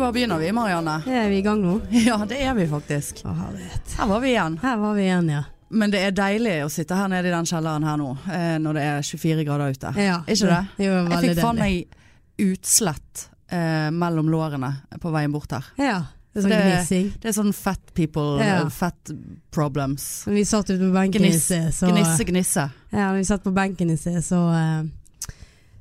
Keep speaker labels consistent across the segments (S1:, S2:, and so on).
S1: Når begynner vi, Marianne?
S2: Er vi i gang nå?
S1: Ja, det er vi faktisk.
S2: Å, herlighet.
S1: Her var vi igjen.
S2: Her var vi igjen, ja.
S1: Men det er deilig å sitte her nede i den kjelleren her nå, eh, når det er 24 grader ute.
S2: Ja,
S1: Ikke det?
S2: det var
S1: Jeg
S2: veldig
S1: fikk faen
S2: deilig.
S1: meg utslett eh, mellom lårene på veien bort her.
S2: Ja. Det er sånn
S1: Det-
S2: gnissing.
S1: Det er sånn fat people,
S2: Ja.
S1: fat problems.
S2: Når vi satt ute på benken i
S1: Gniss-
S2: sted, så
S1: Gnisse, gnisse.
S2: Ja, når vi satt på benken i sted, så eh,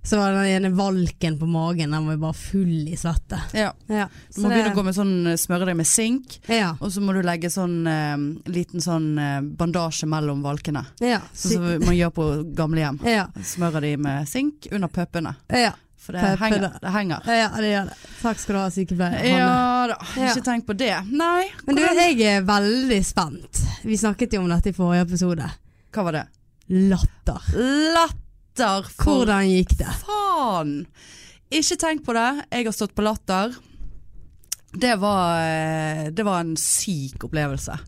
S2: så var den ene valken på magen, den var jo bare full i svette.
S1: Ja.
S2: Ja,
S1: Du må begynne å gå med sånn, smøre deg med sink.
S2: Ja.
S1: Og så må du legge sånn eh, liten sånn eh, bandasje mellom valkene.
S2: Ja.
S1: Sånn som man gjør på gamlehjem.
S2: ja.
S1: Smører de med sink under puppene.
S2: ja.
S1: For det
S2: Puppene.
S1: henger. Det henger.
S2: Ja, det gjør det. Takk skal du ha, sykepleier. Hanne.
S1: Ja da,
S2: Ja.
S1: ikke tenk på det. Nei,
S2: Men du,
S1: hvordan-
S2: jeg er veldig spent. Vi snakket jo om dette i forrige episode.
S1: hva var det?
S2: Latter.
S1: Latter for
S2: Hvordan gikk det?
S1: faen! Ikke tenk på det. Jeg har stått på latter. Det var, eh, det var en syk opplevelse.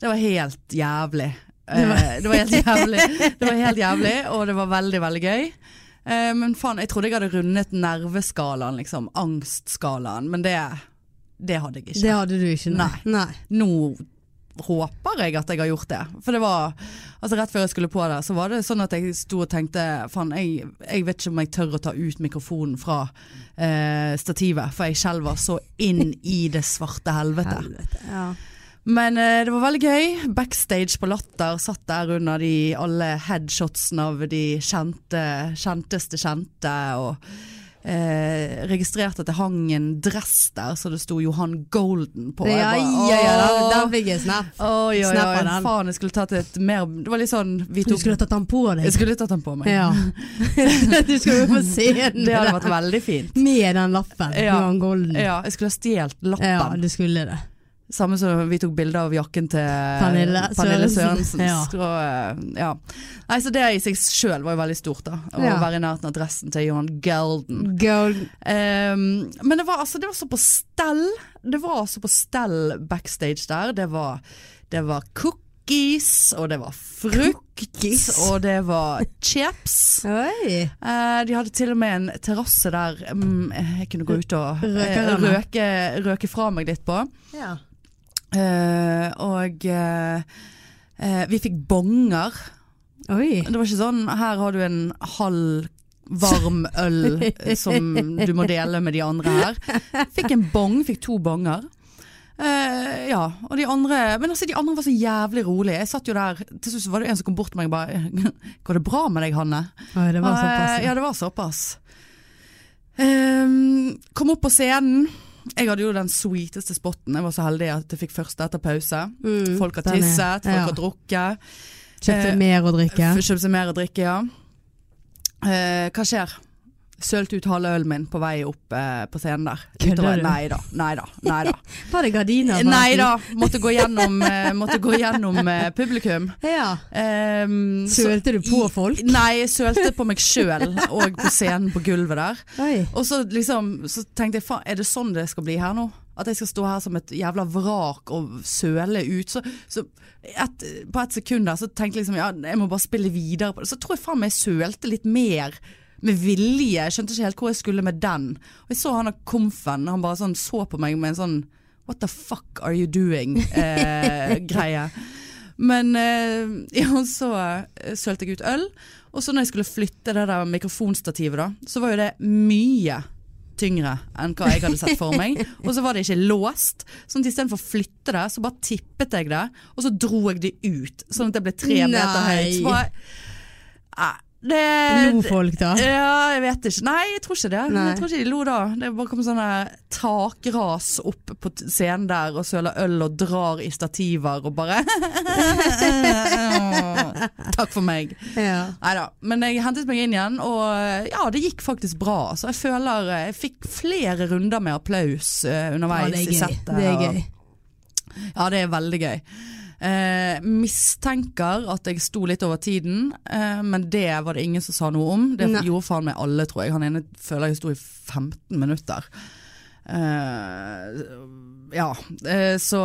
S1: Det var helt jævlig.
S2: Det var-
S1: Eh, Det var helt jævlig, det var helt jævlig og det var veldig, veldig gøy. Eh, Men faen, jeg trodde jeg hadde rundet nerveskalaen, liksom. Angstskalaen. Men det, det hadde jeg ikke.
S2: Det hadde du ikke. Nei. Nei.
S1: nå håper jeg at jeg har gjort det. For det var Altså rett før jeg skulle på der, så var det sånn at jeg sto og tenkte faen, jeg, jeg vet ikke om jeg tør å ta ut mikrofonen fra eh, stativet, for jeg skjelver så inn i det svarte helvete.
S2: Helvete. Ja.
S1: Men eh, det var veldig gøy. Backstage på Latter satt der under de, alle headshotsene av de kjente, kjenteste kjente. Og eh, registrerte at det hang en dress der så det sto Johan Golden på. Jeg
S2: Ja,
S1: bare,
S2: ja, ja,
S1: «Åh,
S2: den- den fikk jeg sånn snap.
S1: Oi, oi,
S2: Snappa
S1: oi,
S2: den.
S1: faen, jeg skulle tatt et mer Det var litt sånn vi
S2: Du
S1: tok,
S2: skulle tatt den på
S1: Jeg
S2: deg.
S1: skulle tatt den på meg.
S2: Ja. du skulle jo på scenen
S1: Det hadde
S2: med
S1: vært veldig fint.
S2: den- med den lappen.
S1: Ja.
S2: Johan Golden.
S1: Ja, jeg skulle ha stjålet
S2: Mm. Ja,
S1: lappen.
S2: du skulle det.
S1: Samme som vi tok bilde av jakken til
S2: Pernille
S1: Pernille
S2: Sørensen.
S1: Sørensen.
S2: Ja.
S1: Så, eh, ja. Nei, så det i seg sjøl var jo veldig stort, da. Å
S2: Ja.
S1: være i nærheten av dressen til Johan Golden.
S2: Golden.
S1: Ehm, men det var, altså, det var så på stell. Det var altså på stell backstage der. Det var, det var cookies, og det var frukt,
S2: Cookies.
S1: og det var chips.
S2: Oi.
S1: Eh, de hadde til og med en terrasse der mm, jeg kunne gå ut og eh,
S2: Røke den, ja.
S1: røke, røke fra meg litt på.
S2: Ja.
S1: Eh, og eh, eh, vi fikk bonger.
S2: Oi.
S1: Det var ikke sånn her har du en halv varm øl som du må dele med de andre her. Fikk en bong, fikk to bonger. Eh, ja, og de andre Men altså, de andre var så jævlig rolige. Jeg satt jo der, til slutt så var det en som kom bort til meg og bare 'Går det bra med deg, Hanne?'
S2: Oi, det var såpass.
S1: Eh, Ja, det var såpass. Ehm, kom opp på scenen. Jeg hadde jo den sweeteste spotten. Jeg var så heldig at jeg fikk første etter pause.
S2: Mm,
S1: Folk har
S2: den er-
S1: tisset, folk
S2: ja.
S1: har drukket. eh,
S2: Kjøpte mer å drikke.
S1: Kjøpt seg mer å drikke, ja. Eh, hva skjer? Sølte ut halve ølen min på vei opp eh, på scenen der.
S2: Kødder
S1: Utover-
S2: du?
S1: Nei da, nei da. Nei da.
S2: Var det gardiner? på
S1: Eh, Nei
S2: den
S1: da. Måtte gå gjennom, eh, måtte gå gjennom eh, publikum.
S2: siden? Ja.
S1: Ehm, så-
S2: Sølte du på folk?
S1: Nei, jeg sølte på meg sjøl og på scenen på gulvet der.
S2: Oi.
S1: Og så liksom, så tenkte jeg, faen, er det sånn det skal bli her nå? At jeg skal stå her som et jævla vrak og søle ut. Så, så et, på et sekund der så tenkte jeg liksom, ja, jeg må bare spille videre på det. Så tror jeg faen meg jeg sølte litt mer med vilje. Jeg skjønte ikke helt hvor jeg skulle med den. Og jeg så han av komfen, han bare sånn så på meg med en sånn What the fuck are you Eh, doing-greie. Men eh, ja, så eh, sølte jeg ut øl. Og så når jeg skulle flytte det der mikrofonstativet, da, så var jo det mye tyngre enn hva jeg hadde sett for meg. Og så var det ikke låst. Sånn at istedenfor å flytte det, så bare tippet jeg det, og så dro jeg det ut. Sånn at det ble tre meter
S2: Nei.
S1: høyt. Så bare, Nei, det,
S2: Lo folk da?
S1: ja, jeg vet ikke. Nei, jeg tror ikke det.
S2: Nei.
S1: Jeg tror ikke de lo da. Det bare kom sånne takras opp på t- scenen der og søler øl og drar i stativer og bare Takk for meg.
S2: Ja.
S1: Nei da. Men jeg hentet meg inn igjen, og eh, ja, det gikk faktisk bra. Så jeg føler eh, jeg fikk flere runder med applaus eh,
S2: Ja,
S1: underveis
S2: det er
S1: i
S2: gøy.
S1: settet.
S2: Det er
S1: og-
S2: gøy.
S1: ja, det er veldig gøy. Eh, mistenker at jeg sto litt over tiden, eh, men det var det ingen som sa noe om. Det
S2: Nei.
S1: gjorde faen meg alle, tror jeg. Han ene føler jeg sto i 15 minutter. Eh, ja, eh, så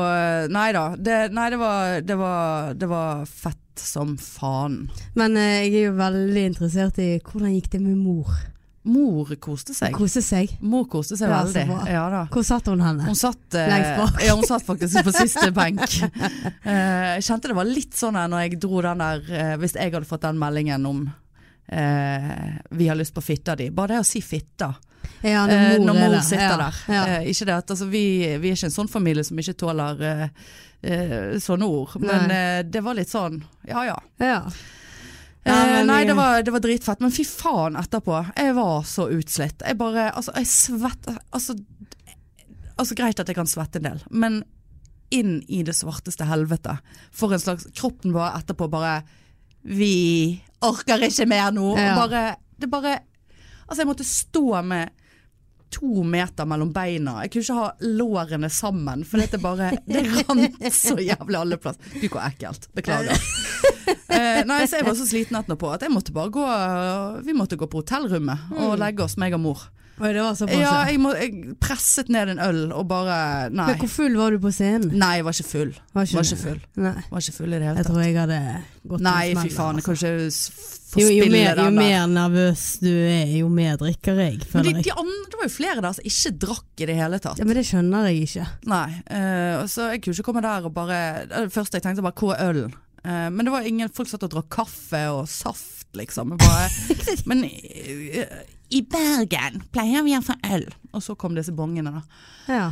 S1: Nei da. Det, nei, det var, det var, det var fett som faen.
S2: Men eh, jeg er jo veldig interessert i hvordan gikk det med mor?
S1: Mor koste seg.
S2: Kose seg.
S1: Mor koste seg
S2: Ja, så
S1: veldig.
S2: bra.
S1: Ja da.
S2: Hvor satt hun henne?
S1: Hun satt, eh,
S2: Lengst bak.
S1: ja, hun satt faktisk på siste benk. Eh, Jeg kjente det var litt sånn her når jeg dro den der eh, Hvis jeg hadde fått den meldingen om eh, vi har lyst på fitta di. Bare det å si fitta
S2: Ja,
S1: eh, når
S2: er
S1: mor
S2: der.
S1: sitter
S2: Ja,
S1: der.
S2: Ja.
S1: Eh, ikke det at, altså, vi, vi er ikke en sånn familie som ikke tåler eh, eh, sånne ord. Men eh, det var litt sånn, ja ja.
S2: Ja. Ja,
S1: Eh,
S2: men-
S1: nei, det var, det var dritfett, men fy faen etterpå. Jeg var så utslitt. Jeg bare Altså, jeg svetter altså, altså, greit at jeg kan svette en del, men inn i det svarteste helvete. For en slags Kroppen bare etterpå bare Vi orker ikke mer nå.
S2: Ja.
S1: Bare Det bare Altså, jeg måtte stå med to meter mellom beina. Jeg kunne ikke ha lårene sammen, for det bare Det rant så jævlig alle plass. Gud, hvor ekkelt. Beklager. Eh, nei, så jeg var så sliten etterpå at jeg måtte bare gå Vi måtte gå på hotellrommet og legge oss, meg og mor.
S2: eh, Oi, Mm. det var såpass.
S1: Ja,
S2: Ja,
S1: jeg, må, jeg presset ned en øl og bare Nei.
S2: Men hvor full var du på scenen?
S1: Nei, jeg var ikke full. Var ikke full.
S2: Nei.
S1: Var ikke full i det hele
S2: Jeg
S1: tatt.
S2: tror jeg hadde gått
S1: Nei,
S2: en
S1: fy
S2: smell
S1: faen.
S2: der,
S1: Jeg kan ikke s- få
S2: Jo, jo,
S1: spille
S2: mer, jo
S1: den der.
S2: mer nervøs du er, jo mer drikker jeg,
S1: Men de,
S2: føler jeg.
S1: de andre, det var jo flere der som ikke drakk i det hele tatt.
S2: Ja, men det skjønner jeg ikke.
S1: Nei. eh, så jeg kunne ikke komme der og bare Det første jeg tenkte, var hvor er ølen? Eh, men det var ingen folk satt og drakk kaffe og saft, liksom. Jeg Bare, men eh, i Bergen pleier vi å få øl. Og så kom disse bongene, da.
S2: Ja.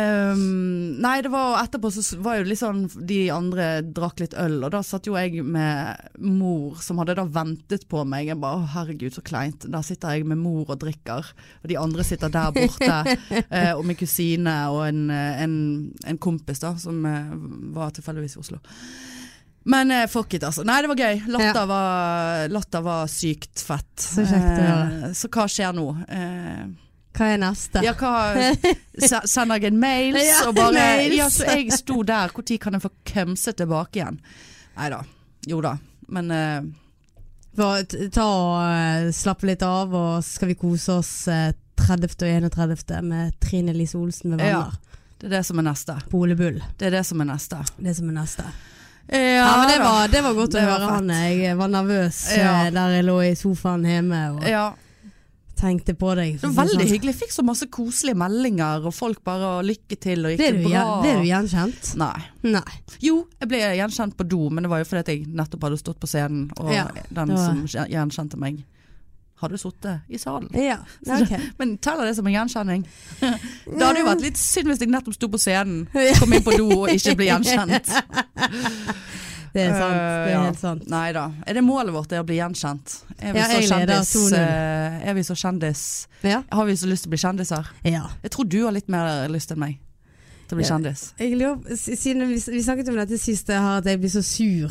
S1: Ehm, nei, det var etterpå så s- var jo litt sånn De andre drakk litt øl, og da satt jo jeg med mor som hadde da ventet på meg. Jeg bare å herregud, så kleint. Der sitter jeg med mor og drikker, og de andre sitter der borte. eh, og min kusine og en, eh, en, en kompis da, som eh, var tilfeldigvis i Oslo. Men eh, fuck it, altså. Nei, det var gøy. Latter, var, latter var sykt fett.
S2: Så kjekt å høre.
S1: Eh, så hva skjer nå? Eh,
S2: Hva er neste?
S1: ja, hva, se- sender jeg en mail
S2: Ja,
S1: og bare
S2: mails.
S1: Ja, så jeg sto der, når kan jeg få kømse tilbake igjen? Nei da. Jo da. Men eh,
S2: For, t- ta og eh, slappe litt av, og så skal vi kose oss eh, 30. og 31. med Trine Lise Olsen med
S1: Ja.
S2: venner.
S1: det er det som er neste.
S2: På Ole Bull.
S1: Det er det som er neste.
S2: Det som er neste.
S1: Ja,
S2: Ja, men det var, det var godt
S1: Det
S2: å
S1: var
S2: høre,
S1: fett.
S2: Hanne. Jeg var nervøs eh,
S1: Ja.
S2: der jeg lå i sofaen hjemme og
S1: ja,
S2: tenkte på deg. Sånn.
S1: det var veldig hyggelig. Jeg fikk så masse koselige meldinger, og folk bare og 'lykke til', og gikk
S2: Ble
S1: det
S2: du,
S1: bra?
S2: gjen- ble du gjenkjent?
S1: Nei.
S2: Nei.
S1: Jo, jeg ble gjenkjent på do, men det var jo fordi at jeg nettopp hadde stått på scenen, og
S2: Ja,
S1: den
S2: det var-
S1: som gjen- gjenkjente meg, hadde sittet i salen.
S2: Ja, ok.
S1: Men teller det som en gjenkjenning? Det hadde jo vært litt synd hvis jeg nettopp sto på scenen,
S2: Ja.
S1: kom inn på do og ikke ble gjenkjent.
S2: Det er
S1: Eh,
S2: sant. Det er
S1: ja.
S2: helt sant.
S1: Nei da. Er det målet vårt det å bli gjenkjent? Er vi,
S2: Ja,
S1: så
S2: jeg leder
S1: kjendis,
S2: 2-0.
S1: eh, er vi så kjendis
S2: Ja.
S1: Har vi så lyst til å bli kjendiser?
S2: ja.
S1: Jeg tror du har litt mer lyst enn meg til å bli
S2: Ja.
S1: kjendis.
S2: Jeg lurer, s- siden vi, vi snakket om dette sist, jeg har at jeg blir så sur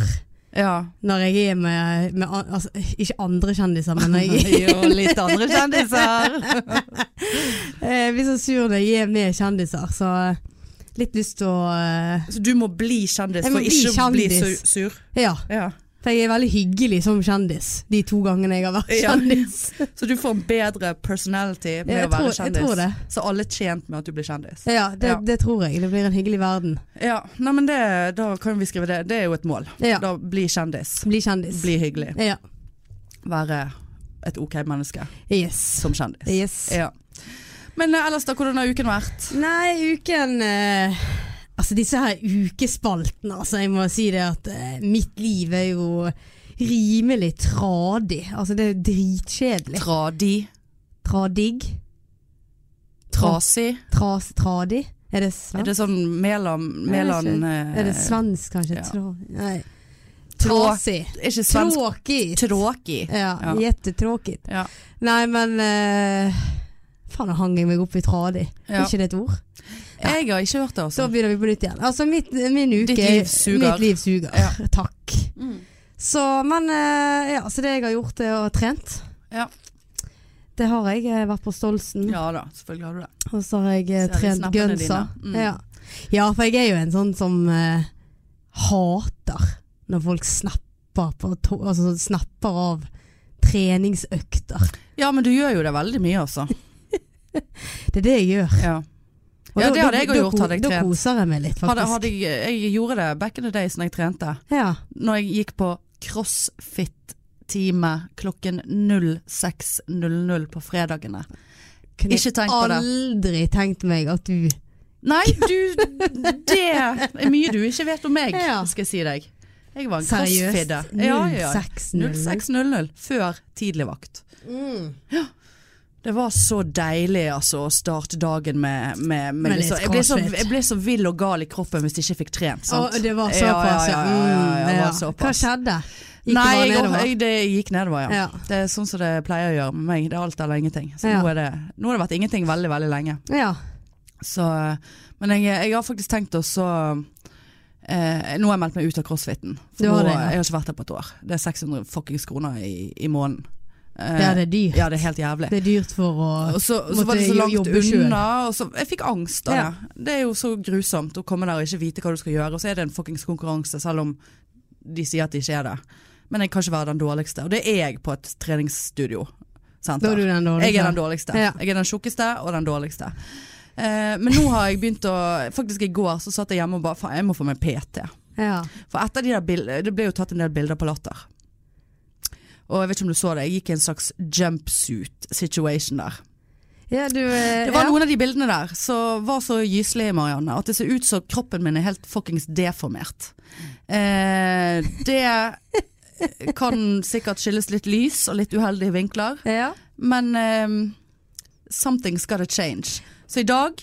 S1: Ja.
S2: når jeg er med, med an- altså, Ikke andre kjendiser, men når jeg,
S1: Jo, litt andre kjendiser.
S2: jeg blir så sur når jeg er med kjendiser. Så eh, litt lyst til å eh,
S1: Så du må bli kjendis
S2: Jeg må
S1: for
S2: bli
S1: ikke å bli sur?
S2: kjendis.
S1: sur.
S2: Ja.
S1: Ja.
S2: For jeg er veldig hyggelig som kjendis, de to gangene jeg har vært
S1: Ja.
S2: kjendis.
S1: Så du får en bedre personality med
S2: Ja, jeg
S1: å være
S2: tror- jeg
S1: kjendis?
S2: tror det.
S1: Så alle er tjent med at du blir kjendis?
S2: Ja, det,
S1: Ja.
S2: det tror jeg. Det blir en hyggelig verden.
S1: Ja, nei, men det, da kan vi skrive det. Det er jo et mål.
S2: Ja.
S1: Da Bli kjendis.
S2: Bli kjendis.
S1: Bli hyggelig.
S2: Ja.
S1: Være et ok menneske
S2: Yes.
S1: som kjendis.
S2: yes.
S1: Ja. Men eh, ellers da, hvordan har uken vært?
S2: Nei, uken eh, Altså disse her ukespaltene, altså. Jeg må si det at eh, mitt liv er jo rimelig tradig. Altså det er jo dritkjedelig.
S1: Tradi,
S2: Tradig?
S1: trasig.
S2: Tras, tradi? Er
S1: Er
S2: det svensk?
S1: det sånn Mæland
S2: Nei, det er
S1: Mæland
S2: Er
S1: eh,
S2: det, svensk, kanskje?
S1: ja.
S2: Tra, nei.
S1: Trå-
S2: Trasig.
S1: er ikke svensk
S2: Tråkig.
S1: tråkig.
S2: Ja,
S1: Ja.
S2: Jettetråkig.
S1: Ja.
S2: Nei, men eh, Faen, da hang jeg meg opp i tradig.
S1: Ja.
S2: Er ikke det et ord?
S1: Jeg har ikke hørt det,
S2: Så
S1: altså.
S2: begynner vi på nytt igjen. Altså, mitt, min uke
S1: Ditt liv suger.
S2: Mitt liv suger.
S1: Ja.
S2: Takk.
S1: Mm.
S2: Så, men eh, ja, så det jeg har gjort er å ha trent.
S1: Ja.
S2: Det har jeg. Jeg har vært på Stolsen,
S1: Ja da, selvfølgelig har du det.
S2: og så har jeg eh,
S1: Ser de
S2: trent
S1: snappene
S2: gunsa.
S1: dine. Mm.
S2: Ja. ja, for jeg er jo en sånn som eh, hater når folk snapper, på to altså, snapper av treningsøkter.
S1: Ja, men du gjør jo det veldig mye, altså.
S2: Det er det jeg gjør.
S1: Ja.
S2: Og
S1: Ja,
S2: da-
S1: det hadde
S2: da-
S1: jeg også
S2: da
S1: gjort,
S2: ko-
S1: hadde jeg trent.
S2: Da koser jeg meg litt, faktisk.
S1: Hadde, hadde jeg, jeg gjorde det back in the days når jeg trente.
S2: Ja.
S1: Når jeg gikk på crossfit time klokken 06.00 på fredagene.
S2: Kunne
S1: Ikke tenk på det.
S2: aldri tenkt meg at du
S1: Nei, du Det er mye du ikke vet om meg,
S2: Ja.
S1: skal jeg si deg. Jeg var en
S2: Seriøst.
S1: crossfidder. Ja, ja, ja.
S2: 06.00.
S1: 06.00 før tidligvakt. mm. Det var så deilig altså, å starte dagen med, med, med,
S2: Med litt
S1: liksom, jeg, ble så,
S2: crossfit.
S1: jeg ble så vill og gal i kroppen hvis jeg ikke fikk trent. Sant?
S2: Å, det var
S1: Ja, ja,
S2: såpass,
S1: ja, ja, ja, ja, det var
S2: Mm, ja. Hva
S1: såpass.
S2: skjedde? Gikk
S1: Nei,
S2: det
S1: jeg,
S2: bare nedover?
S1: jeg, det gikk nedover, ja.
S2: Ja.
S1: Det er sånn som det pleier å gjøre med meg. Det er alt eller ingenting. Så
S2: Ja.
S1: nå, er det, nå har det vært ingenting veldig, veldig lenge.
S2: Ja.
S1: Så, eh, men jeg, jeg har faktisk tenkt å så eh, Nå har jeg meldt meg ut av crossfiten. For
S2: Du
S1: nå,
S2: har det, ja.
S1: Jeg har ikke vært der på et år. Det er 600 fuckings kroner i, i måneden. Eh,
S2: ja, det er dyrt.
S1: ja, det er helt jævlig.
S2: Det er dyrt for å
S1: Og så, så
S2: Måtte
S1: var det så
S2: jo
S1: langt
S2: jobbe selv.
S1: unna. Og så, jeg fikk angst av
S2: Ja.
S1: det. Det er jo så grusomt å komme der og ikke vite hva du skal gjøre. Og så er det en fuckings konkurranse, selv om de sier at de ikke er det. Men jeg kan ikke være den dårligste. Og det er jeg på et treningsstudio.
S2: Da er du den dårlige.
S1: Jeg er den dårligste.
S2: Ja.
S1: Jeg er den tjukkeste og den dårligste. Eh, men nå har jeg begynt å Faktisk i går så satt jeg hjemme og bare Faen, jeg må få meg PT.
S2: Ja.
S1: For etter de der bildene Det ble jo tatt en del bilder på Latter. Og jeg vet ikke om du så det, jeg gikk i en slags jumpsuit situation der.
S2: ja, du eh,
S1: Det var
S2: ja.
S1: noen av de bildene der som var så gyselige, Marianne, at det ser ut som kroppen min er helt fuckings deformert. Eh, det kan sikkert skyldes litt lys og litt uheldige vinkler.
S2: Ja.
S1: Men ehm, something's gotta change. Så i dag,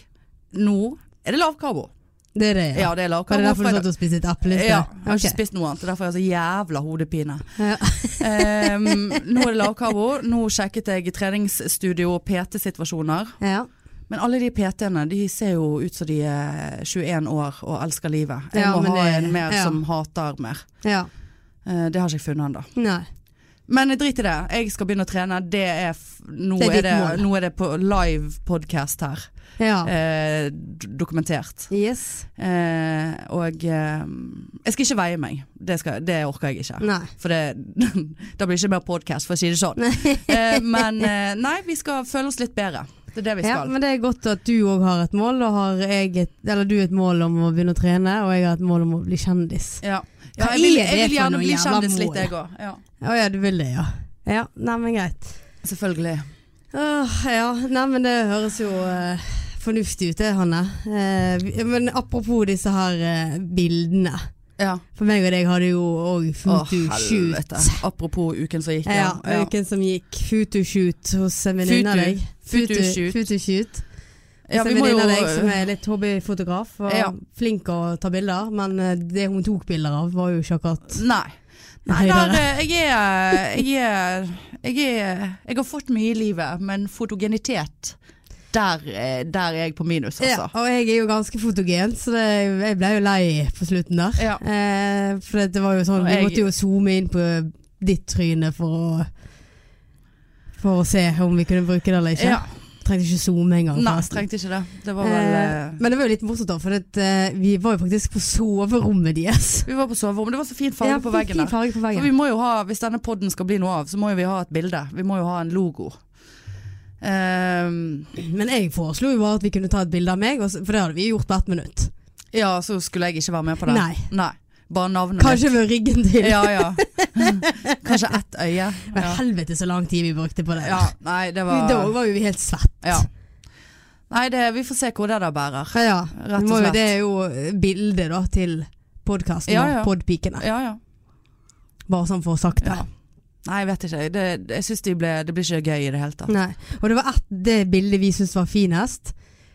S1: nå, er det lav karbo.
S2: Det er det,
S1: Ja,
S2: ja.
S1: det er lav
S2: Var
S1: karbo.
S2: det derfor
S1: for i
S2: du
S1: dag-
S2: satt og spiste et eple? i sted?
S1: ja, jeg har ikke
S2: Ok.
S1: spist noe annet, og derfor har jeg så jævla hodepine.
S2: Ja.
S1: Ehm, nå er det lav karbo. Nå sjekket jeg treningsstudio og PT-situasjoner.
S2: Ja.
S1: Men alle de PT-ene de ser jo ut som de er 21 år og elsker livet. Jeg
S2: Ja,
S1: må
S2: men
S1: ha
S2: det-
S1: en mer
S2: ja.
S1: som hater mer.
S2: ja.
S1: Eh, det har ikke jeg funnet ennå.
S2: Nei.
S1: Men drit i det. Jeg skal begynne å trene. Det er f nå,
S2: Det er
S1: er
S2: ditt
S1: det,
S2: mål.
S1: nå er det på live podcast her.
S2: Ja.
S1: Eh, d- dokumentert.
S2: Yes.
S1: Eh, og eh, jeg skal ikke veie meg. Det, skal, det orker jeg ikke.
S2: Nei.
S1: For det, da blir det ikke mer podcast, for å si det sånn. Eh, men eh, nei, vi skal føle oss litt bedre. Det er det vi
S2: Ja,
S1: skal.
S2: men det er godt at du òg har et mål. Da har jeg et, eller du et mål om å begynne å trene, og jeg har et mål om å bli kjendis.
S1: Ja.
S2: Hva
S1: Ja, jeg, vil,
S2: er det
S1: jeg vil
S2: for
S1: gjerne
S2: noe
S1: bli
S2: jævla
S1: kjendis
S2: mål?
S1: litt, jeg òg. Ja.
S2: Å ja, du vil det, ja. Ja, nei, men greit.
S1: Selvfølgelig.
S2: Åh, ja, nei, men det høres jo eh, fornuftig ut det, Hanne. Eh, vi- men apropos disse her eh, bildene.
S1: Ja.
S2: For meg og deg har det jo òg
S1: Å,
S2: futushoot.
S1: helvete. Apropos uken som gikk.
S2: Ja, uken som gikk. Futushoot hos en venninne
S1: Futu.
S2: av deg. Futu-
S1: Futushoot.
S2: Futushoot.
S1: Ja,
S2: Hos en
S1: vi må
S2: venninne av
S1: jo-
S2: deg som er litt hobbyfotograf og
S1: Ja.
S2: flink å ta bilder, men eh, det hun tok bilder av, var jo ikke akkurat
S1: Nei. Nei,
S2: Høydere.
S1: der, eh, jeg er jeg, er, jeg er Jeg har fått mye i livet, men fotogenitet der, eh, der er jeg på minus,
S2: Ja,
S1: altså.
S2: og jeg er jo ganske fotogen, så det, jeg ble jo lei på slutten der.
S1: Ja.
S2: Eh, for det var jo sånn,
S1: Og
S2: vi
S1: jeg-
S2: måtte jo zoome inn på ditt tryne for å For å se om vi kunne bruke det eller ikke.
S1: Ja.
S2: Trengte ikke zoome engang.
S1: Nei,
S2: forresten.
S1: trengte ikke det. Det var vel
S2: Eh,
S1: eh,
S2: men det var jo litt morsomt, da, for det, eh, vi var jo faktisk på soverommet deres.
S1: Vi var på soverommet. Det var så fin farge
S2: Ja,
S1: på
S2: fin-
S1: veggen
S2: fin
S1: der.
S2: farge på
S1: For
S2: veggen.
S1: vi må jo ha, hvis denne podden skal bli noe av, så må jo vi ha et bilde. Vi må jo ha en logo. Ehm,
S2: Men jeg foreslo jo bare at vi kunne ta et bilde av meg, og så- for det hadde vi gjort på ett minutt.
S1: ja, så skulle jeg ikke være med på det.
S2: Nei.
S1: Bare navnet
S2: Kanskje ved ryggen til.
S1: mitt. Ja, ja. Kanskje ett øye.
S2: Men
S1: Ja.
S2: helvete så lang tid vi brukte på det.
S1: ja. Nei, det
S2: Vi- Da
S1: var
S2: var jo vi helt svett.
S1: Ja. Nei, det, vi får se hvor det der bærer.
S2: Ja, ja.
S1: Rett og
S2: Må jo-
S1: slett.
S2: Det er jo eh, bildet da til podkasten
S1: Ja,
S2: og
S1: ja.
S2: podpikene.
S1: Ja, ja.
S2: Bare sånn for å ha sagt det.
S1: ja. Nei, jeg vet ikke. Det, jeg syns de ble, det blir ikke gøy i det hele tatt.
S2: Nei. Og det var ett det bildet vi syntes var finest.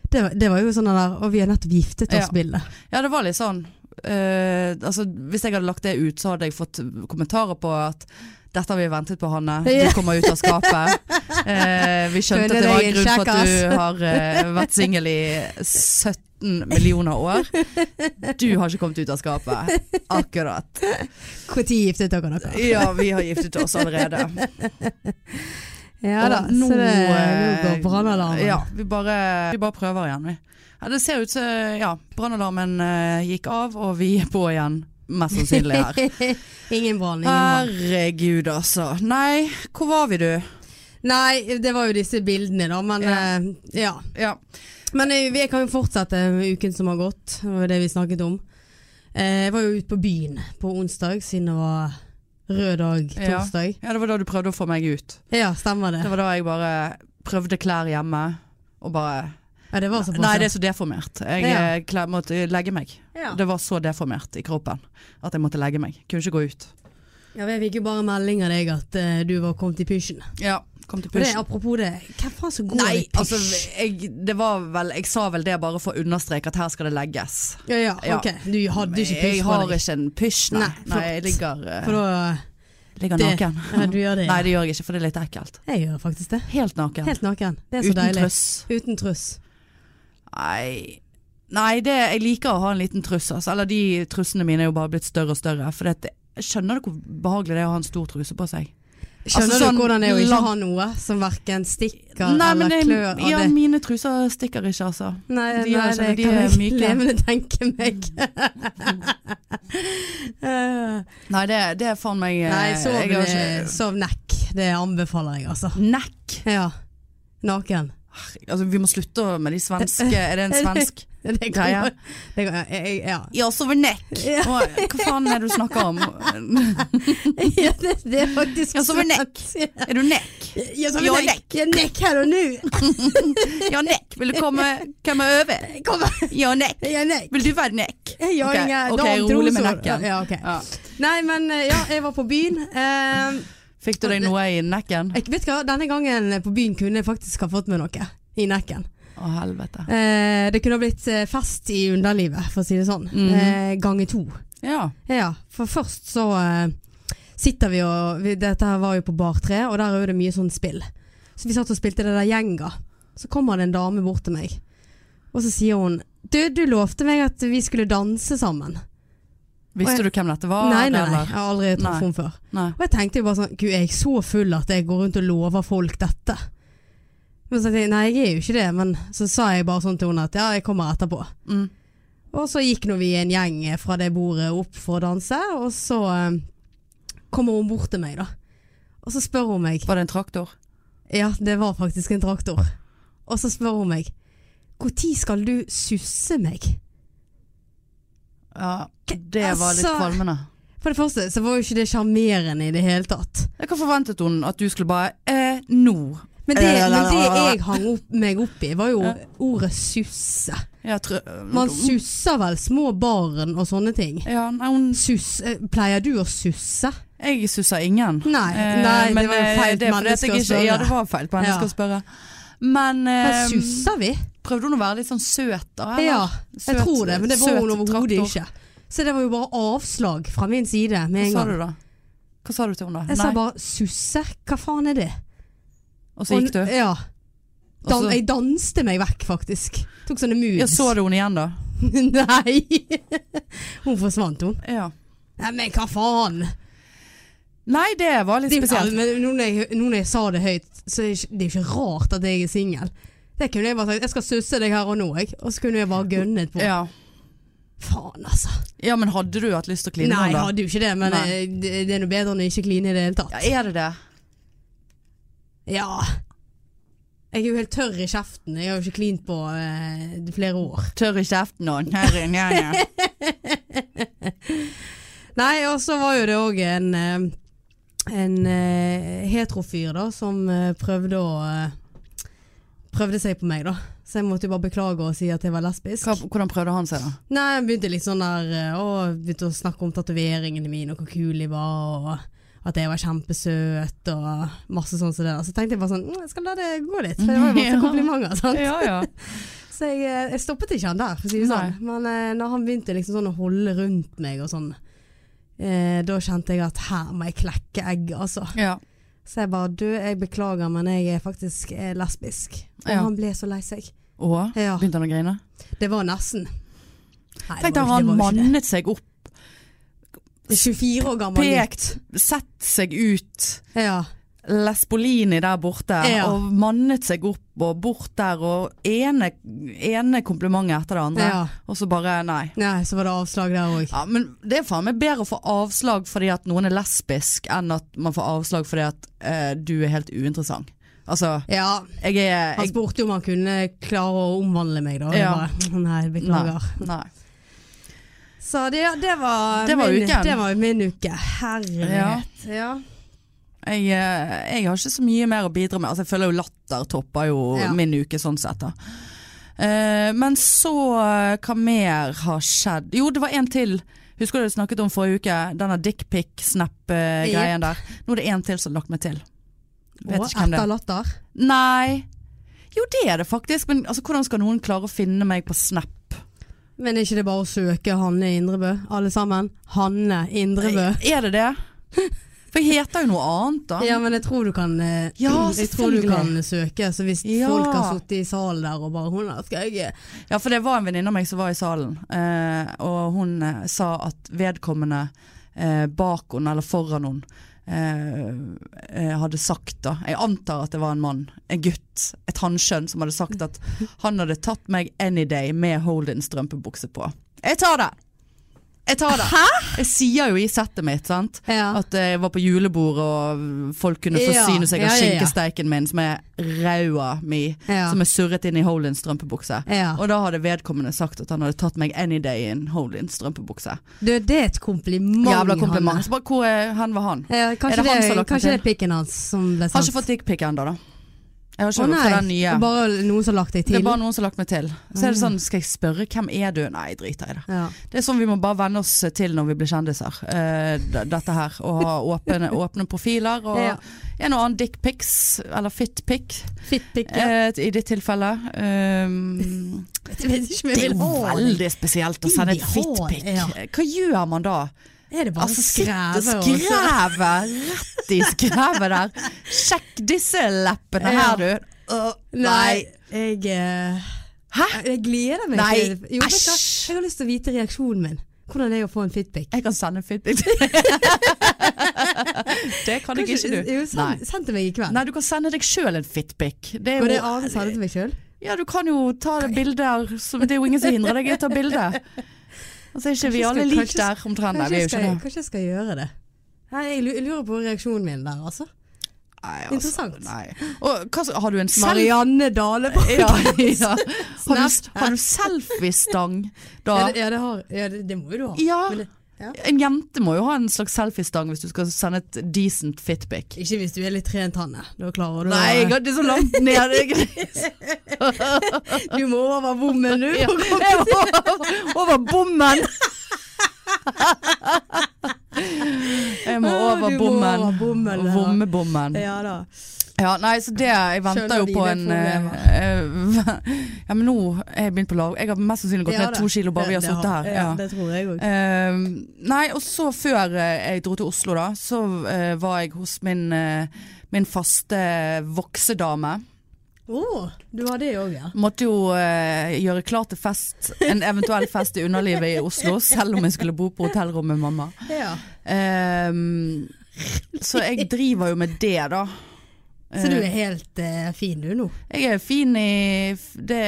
S2: Det, var- det var jo sånn der Og vi har nettopp giftet
S1: Ja.
S2: oss-bildet.
S1: Ja, det var litt sånn eh, altså, Hvis jeg hadde lagt det ut, så hadde jeg fått kommentarer på at dette har vi ventet på, Hanne.
S2: Ja.
S1: Du kommer ut av skapet. Eh, vi skjønte at det var en grunn for at du har eh, vært singel i 17 millioner år. Du har ikke kommet ut av skapet. Akkurat.
S2: Når giftet dere dere?
S1: Ja, vi har giftet oss allerede.
S2: Ja da,
S1: Og nå,
S2: så det nå
S1: eh,
S2: går brannalarmen.
S1: Ja, vi bare, vi bare prøver igjen, vi. Ja, det ser ut som ja, brannalarmen eh, gikk av, og vi er på igjen, mest sannsynlig her.
S2: ingen brann, ingen brann.
S1: Herregud, altså. Nei, hvor var vi, du?
S2: Nei, det var jo disse bildene, da, men
S1: Ja.
S2: eh, ja.
S1: Ja.
S2: Men eh, jeg kan jo fortsette med uken som har gått, og det vi snakket om. Eh, Jeg var jo ute på byen på onsdag, siden det var Rød dag,
S1: Ja.
S2: torsdag.
S1: Ja, det var da du prøvde å få meg ut.
S2: Ja, stemmer det.
S1: Det var da jeg bare prøvde klær hjemme, og bare
S2: Ja, det var såpass.
S1: Nei,
S2: ja.
S1: det er så deformert. Jeg
S2: Ja.
S1: eh, kle- måtte legge meg.
S2: ja.
S1: Det var så deformert i kroppen at jeg måtte legge meg. Kunne ikke gå ut.
S2: ja, Jeg fikk jo bare melding av deg at eh, du var kommet i pysjen.
S1: Ja, kom til
S2: Og det,
S1: pysj.
S2: apropos det, hvem faen som går i
S1: Nei,
S2: pysj?
S1: altså, jeg, det var vel, jeg sa vel det bare for å understreke at her skal det legges.
S2: ja, ja,
S1: ja.
S2: ok. Du hadde ikke
S1: jeg
S2: pysj på
S1: har
S2: deg.
S1: ikke en pysj, nei.
S2: Nei,
S1: nei jeg ligger, eh,
S2: For da
S1: ligger
S2: det-
S1: naken.
S2: ja, Du gjør det?
S1: Nei, det gjør jeg ikke, for det er litt ekkelt.
S2: Jeg gjør faktisk det.
S1: Helt naken.
S2: Helt naken. Det er så
S1: Uten
S2: deilig.
S1: trøss.
S2: Uten truss.
S1: Nei, nei det, jeg liker å ha en liten truss. Altså. Eller de trussene mine er jo bare blitt større og større. For det, jeg skjønner du hvor behagelig det er å ha en stor truse på seg?
S2: Skjønner
S1: sånn
S2: du hvordan det er å ikke
S1: lang-
S2: ha noe som verken stikker
S1: Nei, men
S2: eller
S1: jeg,
S2: klør av
S1: ja,
S2: det?
S1: mine truser stikker ikke, altså.
S2: Nei,
S1: de
S2: nei,
S1: gjør ikke
S2: det
S1: det, de
S2: kan
S1: er
S2: jeg
S1: myke.
S2: levende tenke meg. Eh,
S1: Nei, det, det er faen meg eh,
S2: nei, sov,
S1: jeg har ikke-
S2: eh, sov nekk. Det anbefaler jeg, altså.
S1: Nekk!
S2: Ja. Naken.
S1: Altså, vi må slutte å- med de svenske Er det en svensk
S2: Det kan-
S1: greie?
S2: det kan- jeg- jeg- Ja.
S1: Ja, sover nekk!
S2: Ja.
S1: Å, Hva faen er det du snakker om?
S2: Ja, det, det er faktisk
S1: Ja, sov nekk.
S2: sant.
S1: Er du nekk?
S2: Ja, sov
S1: Ja,
S2: nekk. Ja, nekk her og nå.
S1: Ja, nekk. Vil du komme, komme over?
S2: Kom her.
S1: Ja, nekk.
S2: Ja, nekk.
S1: Vil du være nekk?
S2: Ja,
S1: Ok,
S2: ingen-
S1: ok,
S2: dam,
S1: rolig med
S2: trosor.
S1: nekken.
S2: Ja, ok.
S1: Ja.
S2: Nei, men eh, ja, jeg var på byen. Eh,
S1: Fikk du deg noe i nekken?
S2: jeg vet hva, Denne gangen på byen kunne jeg faktisk ha fått meg noe i nekken.
S1: Å, helvete.
S2: Eh, det kunne ha blitt eh, fest i underlivet, for å si det sånn.
S1: Mhm.
S2: Eh, Ganger to.
S1: Ja.
S2: Ja, for først så eh, sitter vi og vi, Dette her var jo på Bar 3, og der er jo det mye sånn spill. Så vi satt og spilte det der Gjenga. Så kommer det en dame bort til meg, og så sier hun Du, du lovte meg at vi skulle danse sammen.
S1: Visste du hvem dette var?
S2: nei, nei, nei.
S1: eller?
S2: Jeg har aldri
S1: Nei.
S2: truffet henne før.
S1: Nei.
S2: Og jeg tenkte jo bare sånn Gud, er jeg så full at jeg går rundt og lover folk dette? Men så tenkte jeg, nei, jeg er jo ikke det. Men så sa jeg bare sånn til henne at ja, jeg kommer etterpå.
S1: Mm.
S2: Og så gikk nå vi en gjeng fra det bordet opp for å danse, og så eh, kommer hun bort til meg, da. Og så spør hun meg
S1: Var det en traktor?
S2: Ja, det var faktisk en traktor. Og så spør hun meg Når skal du susse meg?
S1: Ja, det var litt
S2: Altså-
S1: kvalmende.
S2: For det første så var jo ikke det sjarmerende i det hele tatt.
S1: Hva forventet hun at du skulle bare eh, nå?
S2: Men det, men det jeg hang opp, meg opp i, var jo
S1: Ja.
S2: ordet susse.
S1: Ja, tr
S2: Man susser vel små barn og sånne ting.
S1: ja, nei, hun,
S2: Sus, eh, pleier du å susse?
S1: jeg susser ingen.
S2: Nei,
S1: Eh,
S2: nei det var jo
S1: eh,
S2: feil
S1: det er fordi at
S2: menneske
S1: jeg
S2: å
S1: ikke-
S2: spørre.
S1: Ja, det var feil på menneske
S2: Ja.
S1: å spørre. Men eh,
S2: Men susser vi?
S1: prøvde hun å være litt sånn søt, da? eller?
S2: Ja, jeg
S1: Søt-
S2: tror det, men det var
S1: søt
S2: hun overhodet
S1: traktor.
S2: ikke. Så det var jo bare avslag fra min side med
S1: Hva
S2: en
S1: sa
S2: gang.
S1: du da? Hva sa du til henne da?
S2: Jeg sa
S1: Nei.
S2: bare 'susse', hva faen er det?
S1: og så gikk du?
S2: Og- Ja. Dan,
S1: Og så-
S2: jeg danste meg vekk, faktisk. Tok sånne moves.
S1: Ja, så du henne igjen, da?
S2: Nei! hun forsvant, hun.
S1: Ja.
S2: Nei, men hva faen?
S1: Nei, det var litt
S2: Det er jo-
S1: spesielt.
S2: men nå når, jeg, nå når jeg sa det høyt, så er det ikke- det er jo ikke rart at jeg er singel. Det kunne jeg bare sagt. Jeg skal susse deg her og nå, jeg. Og så kunne jeg bare gønnet på.
S1: Ja.
S2: Faen, altså.
S1: ja, men hadde du hatt lyst til å kline
S2: Nei,
S1: med
S2: jeg
S1: henne da?
S2: hadde jo ikke det, men
S1: Nei.
S2: eh, det, det er noe bedre enn å ikke kline i det hele tatt.
S1: Ja, er det det?
S2: Ja. Jeg er jo helt tørr i kjeften. Jeg har jo ikke klint på eh, flere år.
S1: Tørr i kjeften og her inne, ja, ja.
S2: Nei, og så var jo det òg en, eh, en eh, heterofyr da, som eh, prøvde å eh, Prøvde seg på meg, da. Så jeg måtte jo bare beklage og si at jeg var lesbisk.
S1: Hva, hvordan prøvde han seg da?
S2: Nei, jeg begynte litt sånn der eh, Å, begynte å snakke om tatoveringene mine og hvor kul de var, og at jeg var kjempesøt og masse sånn som det der. Så tenkte jeg bare sånn mm, Jeg skal la det gå litt. For det var jo
S1: Ja.
S2: masse komplimenter. sant?
S1: Ja, ja.
S2: Så jeg, eh, jeg stoppet ikke han der, for å si det sånn. Men eh, når han begynte liksom sånn å holde rundt meg og sånn, eh, da kjente jeg at her må jeg klekke egg, altså.
S1: ja.
S2: Så jeg bare du, jeg beklager, men jeg er faktisk eh, lesbisk. Og
S1: Ja.
S2: han ble så lei seg.
S1: Og
S2: Ja,
S1: begynte han å grine?
S2: det var nesten. Nei,
S1: Tenk
S2: det
S1: deg,
S2: var jo
S1: han
S2: ikke- det var jo ikke det.
S1: mannet seg opp,
S2: 24 år gammel.
S1: pekt, sett seg ut.
S2: Ja.
S1: Lesbolini der borte,
S2: Ja.
S1: og mannet seg opp og bort der, og ene, ene komplimentet etter det andre,
S2: ja.
S1: og så bare nei.
S2: Nei, så var det avslag der òg.
S1: Ja, men det er faen meg bedre å få avslag fordi at noen er lesbisk, enn at man får avslag fordi at eh, du er helt uinteressant. Altså,
S2: Ja.
S1: jeg er
S2: Han
S1: jeg,
S2: spurte om han kunne klare å omvandle meg, da. og jeg
S1: Ja.
S2: Bare, nei, beklager.
S1: Nei.
S2: Så det, det, var,
S1: Det var
S2: min,
S1: uken.
S2: det var min uke. Herlighet. Ja.
S1: Jeg, eh, jeg har ikke så mye mer å bidra med. Altså, jeg føler jo latter topper jo
S2: Ja.
S1: min uke sånn sett. da. Eh, men så eh, hva mer har skjedd? Jo, det var en til. Husker du det du snakket om forrige uke? Denne dickpic-snap-greien der. Nå er det en til som har lagt meg til. Vet
S2: Og
S1: ikke hvem det
S2: etter
S1: er.
S2: latter.
S1: Nei. Jo, det er det faktisk. Men altså, hvordan skal noen klare å finne meg på Snap?
S2: Men er ikke det bare å søke Hanne Indrebø, alle sammen? Hanne Indrebø.
S1: Er det det? For jeg heter jo noe annet, da.
S2: Ja, men jeg tror du kan, eh,
S1: Ja,
S2: jeg tror du
S1: selvfølgelig.
S2: kan søke. Så hvis
S1: Ja.
S2: folk har sittet i salen der og bare hun der skal jeg eh,
S1: Ja, for det var en venninne av meg som var i salen, eh, og hun eh, sa at vedkommende eh, bak henne, eller foran henne, eh, eh, hadde sagt da, jeg antar at det var en mann, en gutt, et hanskjønn, som hadde sagt at han hadde tatt meg any day med Holden strømpebukse på. Jeg tar det! Jeg tar det! Jeg sier jo i settet mitt, sant?
S2: ja.
S1: At eh, jeg var på julebord og folk kunne forsyne
S2: Ja,
S1: seg av
S2: ja, ja, ja.
S1: skinkesteiken min, som er raua mi,
S2: Ja.
S1: som er surret inn i Holins strømpebukse.
S2: Ja.
S1: Og da hadde vedkommende sagt at han hadde tatt meg any day in Holins strømpebukse.
S2: Du, det er et kompliment.
S1: Jævla
S2: Hanne.
S1: kompliment. Så bare, hvor er, hen var han?
S2: Ja, Eh, kanskje
S1: Er det
S2: det,
S1: han som har lagt den
S2: kanskje det
S1: til?
S2: er pikken hans som ble sendt.
S1: Har ikke fått dickpic ennå, da. Jeg har
S2: Å,
S1: ikke fått
S2: nei.
S1: den nye.
S2: Bare noen som har lagt deg
S1: Det
S2: til. Ah.
S1: er bare noen som har lagt meg til. Så er det sånn, skal jeg spørre hvem er du? Nei, jeg driter i det.
S2: ja.
S1: Det er sånn vi må bare venne oss til når vi blir kjendiser, eh, d- dette her. Og ha åpne, åpne profiler og
S2: Ja.
S1: en og annen dickpics, eller fitpic.
S2: Fittpikk. ja.
S1: Eh, I ditt tilfelle. ehm,
S2: Jeg vet ikke om
S1: det
S2: jeg
S1: er
S2: vil
S1: jo
S2: ha det.
S1: veldig spesielt å sende et
S2: Vil vi ha
S1: fitpic.
S2: det? Ja.
S1: Eh, Hva gjør man da?
S2: Er det bare
S1: Altså, sitte
S2: skrevet? og-
S1: skrevet rett i skrevet der. Sjekk disse leppene
S2: Ja.
S1: her, du. Øh,
S2: Nei, jeg eh,
S1: Hæ?
S2: Jeg gleder meg
S1: Nei,
S2: til Jo, vet du hva?
S1: æsj.
S2: Jeg har lyst til å vite reaksjonen min. Hvordan det er å få en fitpic.
S1: Jeg kan sende en fitpic. det kan jeg ikke, du.
S2: Jo,
S1: Nei.
S2: send, send til meg i kveld.
S1: Nei, du kan sende deg sjøl en fitpic. Det
S2: Går
S1: er
S2: det
S1: jo,
S2: an å sende til meg sjøl?
S1: ja, du kan jo ta bilder som Det er jo ingen som hindrer deg i å ta bilde. Altså, er ikke vi
S2: Kanskje
S1: alle
S2: skal-
S1: lik
S2: kanskje-
S1: der omtrent? Nei,
S2: Kanskje,
S1: vi er
S2: jeg
S1: jo
S2: skal-
S1: ikke det.
S2: kanskje jeg skal gjøre det. Nei, jeg lu- jeg lurer på reaksjonen min der, altså.
S1: Nei, altså,
S2: Interessant.
S1: Nei. Og, hva, så- har du en selfie?
S2: Marianne Dale på
S1: Ja, ja. Har du,
S2: Snap.
S1: har du selfiestang
S2: Ja,
S1: da?
S2: det, ja, det, har, ja det, det må jo du ha.
S1: Ja.
S2: Men det, ja.
S1: En jente må jo ha en slags selfiestang hvis du skal sende et decent fitpic.
S2: Ikke hvis du er litt trent, Hanne. Da klarer du å-
S1: Nei, jeg har det så langt ned. Jeg,
S2: Du må over bommen, du.
S1: Ja, jeg var over bommen! Jeg må
S2: Å,
S1: over
S2: du må
S1: bommen.
S2: over bommen, ja.
S1: Vommebommen.
S2: Ja da.
S1: Ja, nei, så det Jeg venter
S2: Skjønner
S1: jo
S2: dine
S1: på en
S2: problemer.
S1: eh, eh, Ja, men nå er jeg begynt på lav. Jeg har mest sannsynlig gått
S2: Ja
S1: ned
S2: da.
S1: to kilo bare vi har
S2: Det- det
S1: sittet her.
S2: Ja, det tror jeg òg.
S1: Eh, nei, og så før eh, jeg dro til Oslo da, så eh, var jeg hos min, eh, min faste voksedame.
S2: Å, du har det òg, ja.
S1: Måtte jo eh, gjøre klar til fest, en eventuell fest i underlivet i Oslo, selv om jeg skulle bo på hotellrom med mamma.
S2: ja.
S1: Ehm, så jeg driver jo med det, da.
S2: Så du er helt eh, fin du nå.
S1: Jeg er fin i f- Det,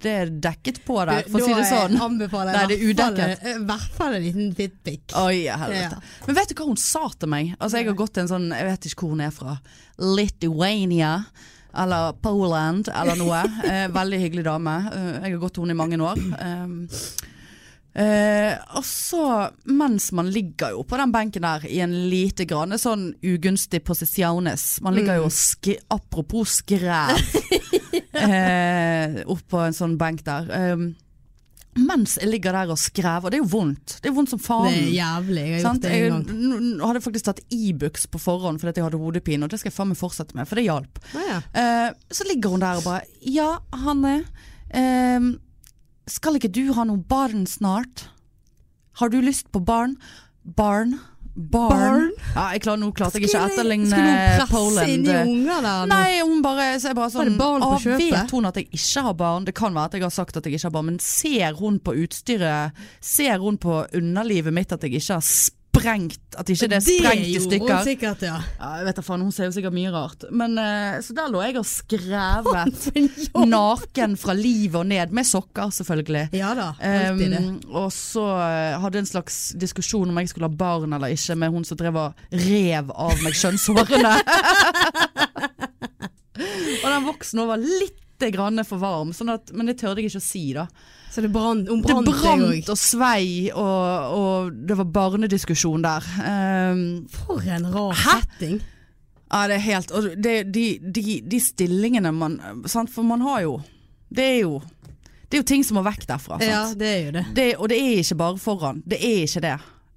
S1: det er dekket på der, for å
S2: Da,
S1: si det
S2: eh,
S1: sånn.
S2: Anbefaler
S1: Nei,
S2: jeg
S1: det er
S2: i hvert fall-
S1: udekket.
S2: eh, i hvert fall en liten fitpic.
S1: Oi, helvete. Men vet du hva hun sa til meg? Altså, jeg har gått til en sånn, jeg vet ikke hvor hun er fra. Lithuania. Eller Poland, eller noe. Eh, veldig hyggelig dame. Eh, jeg har gått til henne i mange år. Um, eh, og så, mens man ligger jo på den benken der i en lite grann sånn ugunstig posisjones Man ligger
S2: Mm.
S1: jo og sk apropos skræv eh, oppå en sånn benk der. Um, mens jeg ligger der og skrever, og det er jo vondt. Det er vondt som faen.
S2: Det er jævlig. Jeg har
S1: mm. Sant?
S2: gjort det en
S1: Jeg
S2: gang.
S1: n- n- hadde faktisk tatt Ibux på forhånd fordi at jeg hadde hodepine, og det skal jeg faen meg fortsette med, for det hjalp.
S2: Å, ja.
S1: Eh, så ligger hun der og bare Ja, Hanne. ehm, skal ikke du ha noen barn snart? Har du lyst på barn? Barn? Barn?
S2: Barn?
S1: Ja, jeg klarer, nå klarte jeg ikke å
S2: Skulle hun
S1: etterligne
S2: presse inn
S1: Poland.
S2: i unger der? nå?
S1: Nei, hun bare, så jeg bare
S2: Var
S1: sånn
S2: det barn på
S1: «Ah,
S2: kjøpet?»
S1: Vet hun at jeg ikke har barn? Det kan være at jeg har sagt at jeg ikke har barn, men ser hun på utstyret, ser hun på underlivet mitt at jeg ikke har sprengt, at ikke det er sprengt i
S2: gjorde hun
S1: stykker?
S2: sikkert, ja.
S1: Ja, jeg vet da faen, hun ser jo sikkert mye rart. Men, eh, så der lå jeg og skrevet
S2: Jo.
S1: naken fra livet og ned, med sokker selvfølgelig.
S2: Ja da, alltid det.
S1: Um, og så eh, hadde jeg en slags diskusjon om jeg skulle ha barn eller ikke med hun som drev og rev av meg kjønnshårene. og den voksne var litt lite grann for varm, sånn at, men det tørde jeg ikke å si da.
S2: Så det brant, hun
S1: Det
S2: brant,
S1: brant
S2: det òg.
S1: og svei, og, og det var barnediskusjon der. Ehm,
S2: For en rar
S1: Hæ?
S2: setting.
S1: ja, det er helt Og det, de, de, de stillingene man sant? For man har jo Det er jo Det er jo ting som må vekk derfra. Sant?
S2: Ja, det er jo det.
S1: Det, og det er ikke bare foran. Det er ikke det.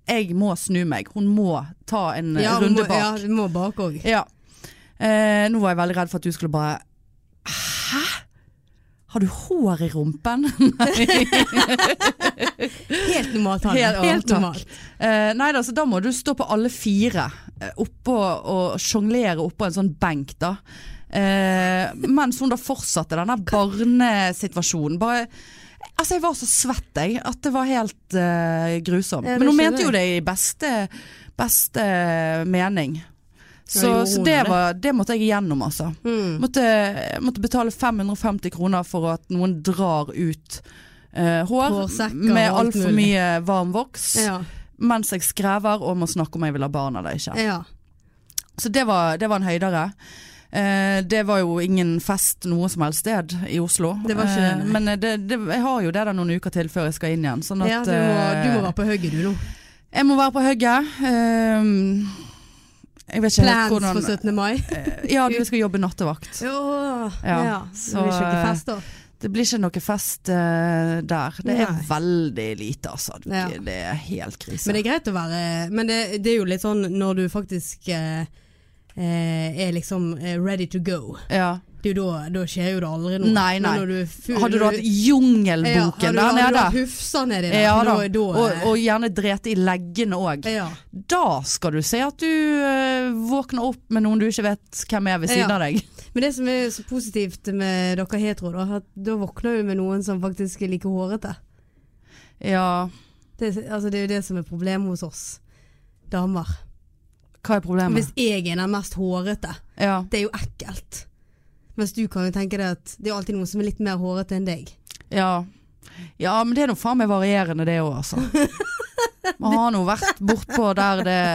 S1: Jeg må snu meg. Hun må ta en eh,
S2: Ja, hun
S1: runde
S2: må, ja,
S1: bak.
S2: hun må bak òg.
S1: Ja. Eh, nå var jeg veldig redd for at du skulle bare Hæ? Har du hår i rumpen?
S2: Helt normalt. Hanne.
S1: Helt- å,
S2: Helt
S1: takk.
S2: normalt.
S1: Eh, nei da, så da må du stå på alle fire eh, oppå og sjonglere oppå en sånn benk, da. Eh, mens hun da fortsatte denne barnesituasjonen. Bare Altså, jeg var så svett, jeg, at det var helt eh, grusom.
S2: Ja, det
S1: Men hun
S2: skjønner
S1: mente jo det i beste, beste eh, mening. Så,
S2: gjorde
S1: så
S2: hun
S1: det,
S2: det?
S1: var, det måtte jeg igjennom, altså.
S2: Mm.
S1: Måtte, måtte betale 550 kroner for at noen drar ut eh, hår
S2: Hårsekker og
S1: med
S2: alt
S1: altfor
S2: mulig.
S1: mye varm voks
S2: Ja.
S1: mens jeg skrever og må snakke om jeg vil ha barn eller ikke.
S2: ja.
S1: Så det var, det var en høydere. Eh, det var jo ingen fest noe som helst sted i Oslo.
S2: Det var ikke det,
S1: Eh,
S2: nei.
S1: men det, det, jeg har jo det der noen uker til før jeg skal inn igjen. Sånn at
S2: ja du, må, du må
S1: eh,
S2: være på hugget du nå.
S1: Jeg må være på hugget. Eh, jeg vet ikke helt
S2: Plans
S1: hvordan
S2: for 17. mai.
S1: Ja, vi skal jobbe nattevakt.
S2: Ja,
S1: Ja,
S2: ja.
S1: så,
S2: Så vi ikke
S1: eh,
S2: fest, da.
S1: Det blir ikke noe fest eh, der. Det er
S2: Nei.
S1: veldig lite, altså. Det,
S2: Ja.
S1: det er helt krise.
S2: Men det er greit å være Men det, det er jo litt sånn når du faktisk eh, eh, er liksom eh, ready to go.
S1: ja.
S2: Det er jo da, da skjer jo det aldri noe.
S1: Nei,
S2: Men
S1: nei.
S2: Når du er full,
S1: Hadde du hatt
S2: Ja, hadde
S1: Jungelboken
S2: du-
S1: der
S2: Hadde du
S1: nede?
S2: hatt Hufsa nedi der,
S1: Ja da,
S2: da, da
S1: og, og gjerne drete i leggene òg.
S2: ja.
S1: Da skal du se at du eh, våkner opp med noen du ikke vet hvem er ved siden
S2: Ja.
S1: av deg.
S2: Men det som er så positivt med dere hetero, da, at da våkner du med noen som faktisk er like hårete.
S1: Ja,
S2: Det, altså, det er jo det som er problemet hos oss damer.
S1: hva er problemet?
S2: Hvis jeg er den mest hårete,
S1: Ja.
S2: det er jo ekkelt. Mens du kan jo tenke deg at det er alltid noen som er litt mer hårete enn deg.
S1: Ja. ja, men det er nå faen meg varierende det òg, altså. Man har nå vært bortpå der det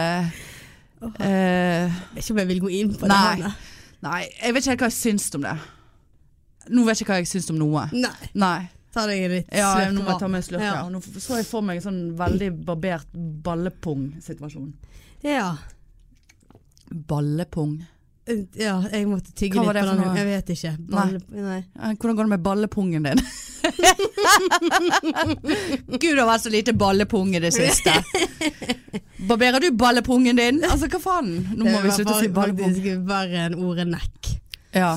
S1: eh,
S2: Jeg vet ikke om jeg vil gå inn på det.
S1: Nei.
S2: Hanne.
S1: Nei, jeg vet ikke helt hva jeg syns om det. Nå vet jeg ikke hva jeg syns om noe.
S2: Nei.
S1: Nei.
S2: Ta deg en litt
S1: Ja,
S2: slurk
S1: nå må jeg ta
S2: vann.
S1: med en slurk. Ja.
S2: Ja.
S1: Nå så jeg for meg en sånn veldig barbert ballepung-situasjon.
S2: Ja.
S1: Ballepung.
S2: ja, jeg måtte tygge
S1: Hva var
S2: litt
S1: det
S2: på
S1: for
S2: den.
S1: noe?
S2: Jeg vet ikke.
S1: Nei.
S2: Balle- Nei.
S1: Eh, Hvordan går det med ballepungen din? Gud, det har vært så lite ballepung i det siste. Barberer du ballepungen din? Altså, hva faen? Nå må
S2: Det
S1: vi
S2: var
S1: slutte å si
S2: fa-
S1: ballepung.
S2: Faktisk verre enn ordet nekk.
S1: Ja,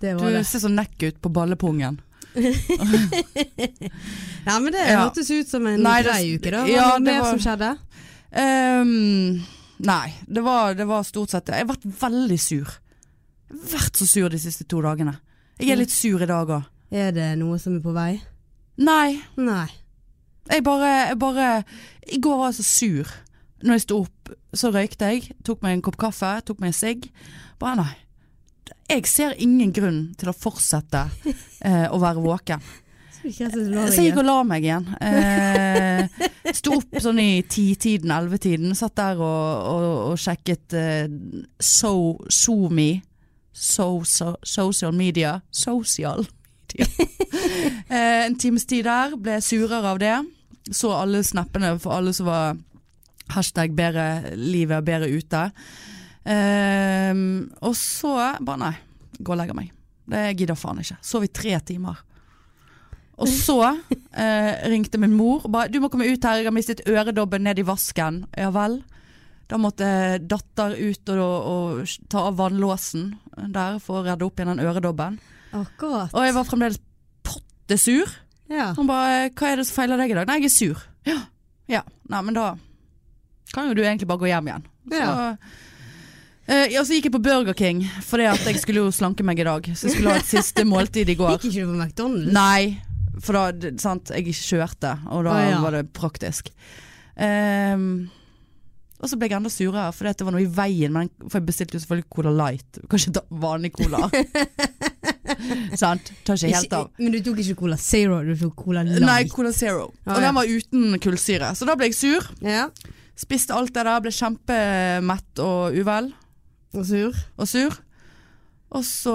S2: Det
S1: du
S2: var det.
S1: ser så nekk ut på ballepungen.
S2: Nei, men det
S1: Ja.
S2: hørtes ut som en
S1: Nei, det-
S2: grei uke, da. Var
S1: ja,
S2: det
S1: det
S2: noe mer
S1: var-
S2: som skjedde?
S1: Ehm, nei, det var, det var stort sett det. Jeg har vært veldig sur. Jeg har vært så sur de siste to dagene. Jeg er litt sur i dag òg.
S2: Er det noe som er på vei?
S1: Nei,
S2: Nei.
S1: jeg bare, jeg bare I går var jeg så sur. Når jeg sto opp, så røykte jeg, tok meg en kopp kaffe, tok meg en sigg. Bare nei. Jeg ser ingen grunn til å fortsette eh, å være våken.
S2: Så ikke sånn jeg synes det var
S1: Så jeg gikk
S2: det.
S1: og la meg igjen. Eh, sto opp sånn i titiden, ellevetiden. Satt der og, og, og sjekket eh, so, SoMe. So, so, social media. Social media. eh, en times tid der. Ble surere av det. Så alle snappene for alle som var hashtag 'bedre livet, bedre ute'. Eh, og så bare nei. Gå og legge meg. Det gidder faen ikke. Sov i tre timer. Og så eh, ringte min mor og bare 'Du må komme ut her, jeg har mistet øredobben ned i vasken'. Ja vel. Da måtte datter ut og, og ta av vannlåsen der for å redde opp igjen den øredobben.
S2: Akkurat.
S1: Og jeg var fremdeles pottesur.
S2: Ja.
S1: Hun bare 'Hva er det som feiler deg i dag?' 'Nei, jeg er sur'. Ja. ja. Nei, men da kan jo du egentlig bare gå hjem igjen. Så,
S2: Ja.
S1: eh, ja, så gikk jeg på Burger King, fordi at jeg skulle jo slanke meg i dag. Så jeg skulle ha et siste måltid i går.
S2: Gikk ikke du på McDonald's?
S1: Nei, for da d- sant, Jeg kjørte, og da
S2: Å, ja.
S1: var det praktisk. Ehm, og så ble jeg enda surere, for det var noe i veien. Men, for jeg bestilte jo selvfølgelig Cola Light. Du kan ikke ta vanlig cola. Sant? Tar ikke helt av.
S2: Ikke- Men du tok ikke Cola Zero, du tok Cola Light.
S1: Nei, Cola Zero.
S2: Å,
S1: og
S2: ja.
S1: den var uten kullsyre. Så da ble jeg sur.
S2: Ja.
S1: Spiste alt det der, ble kjempemett og uvel
S2: Og sur.
S1: og sur. Og så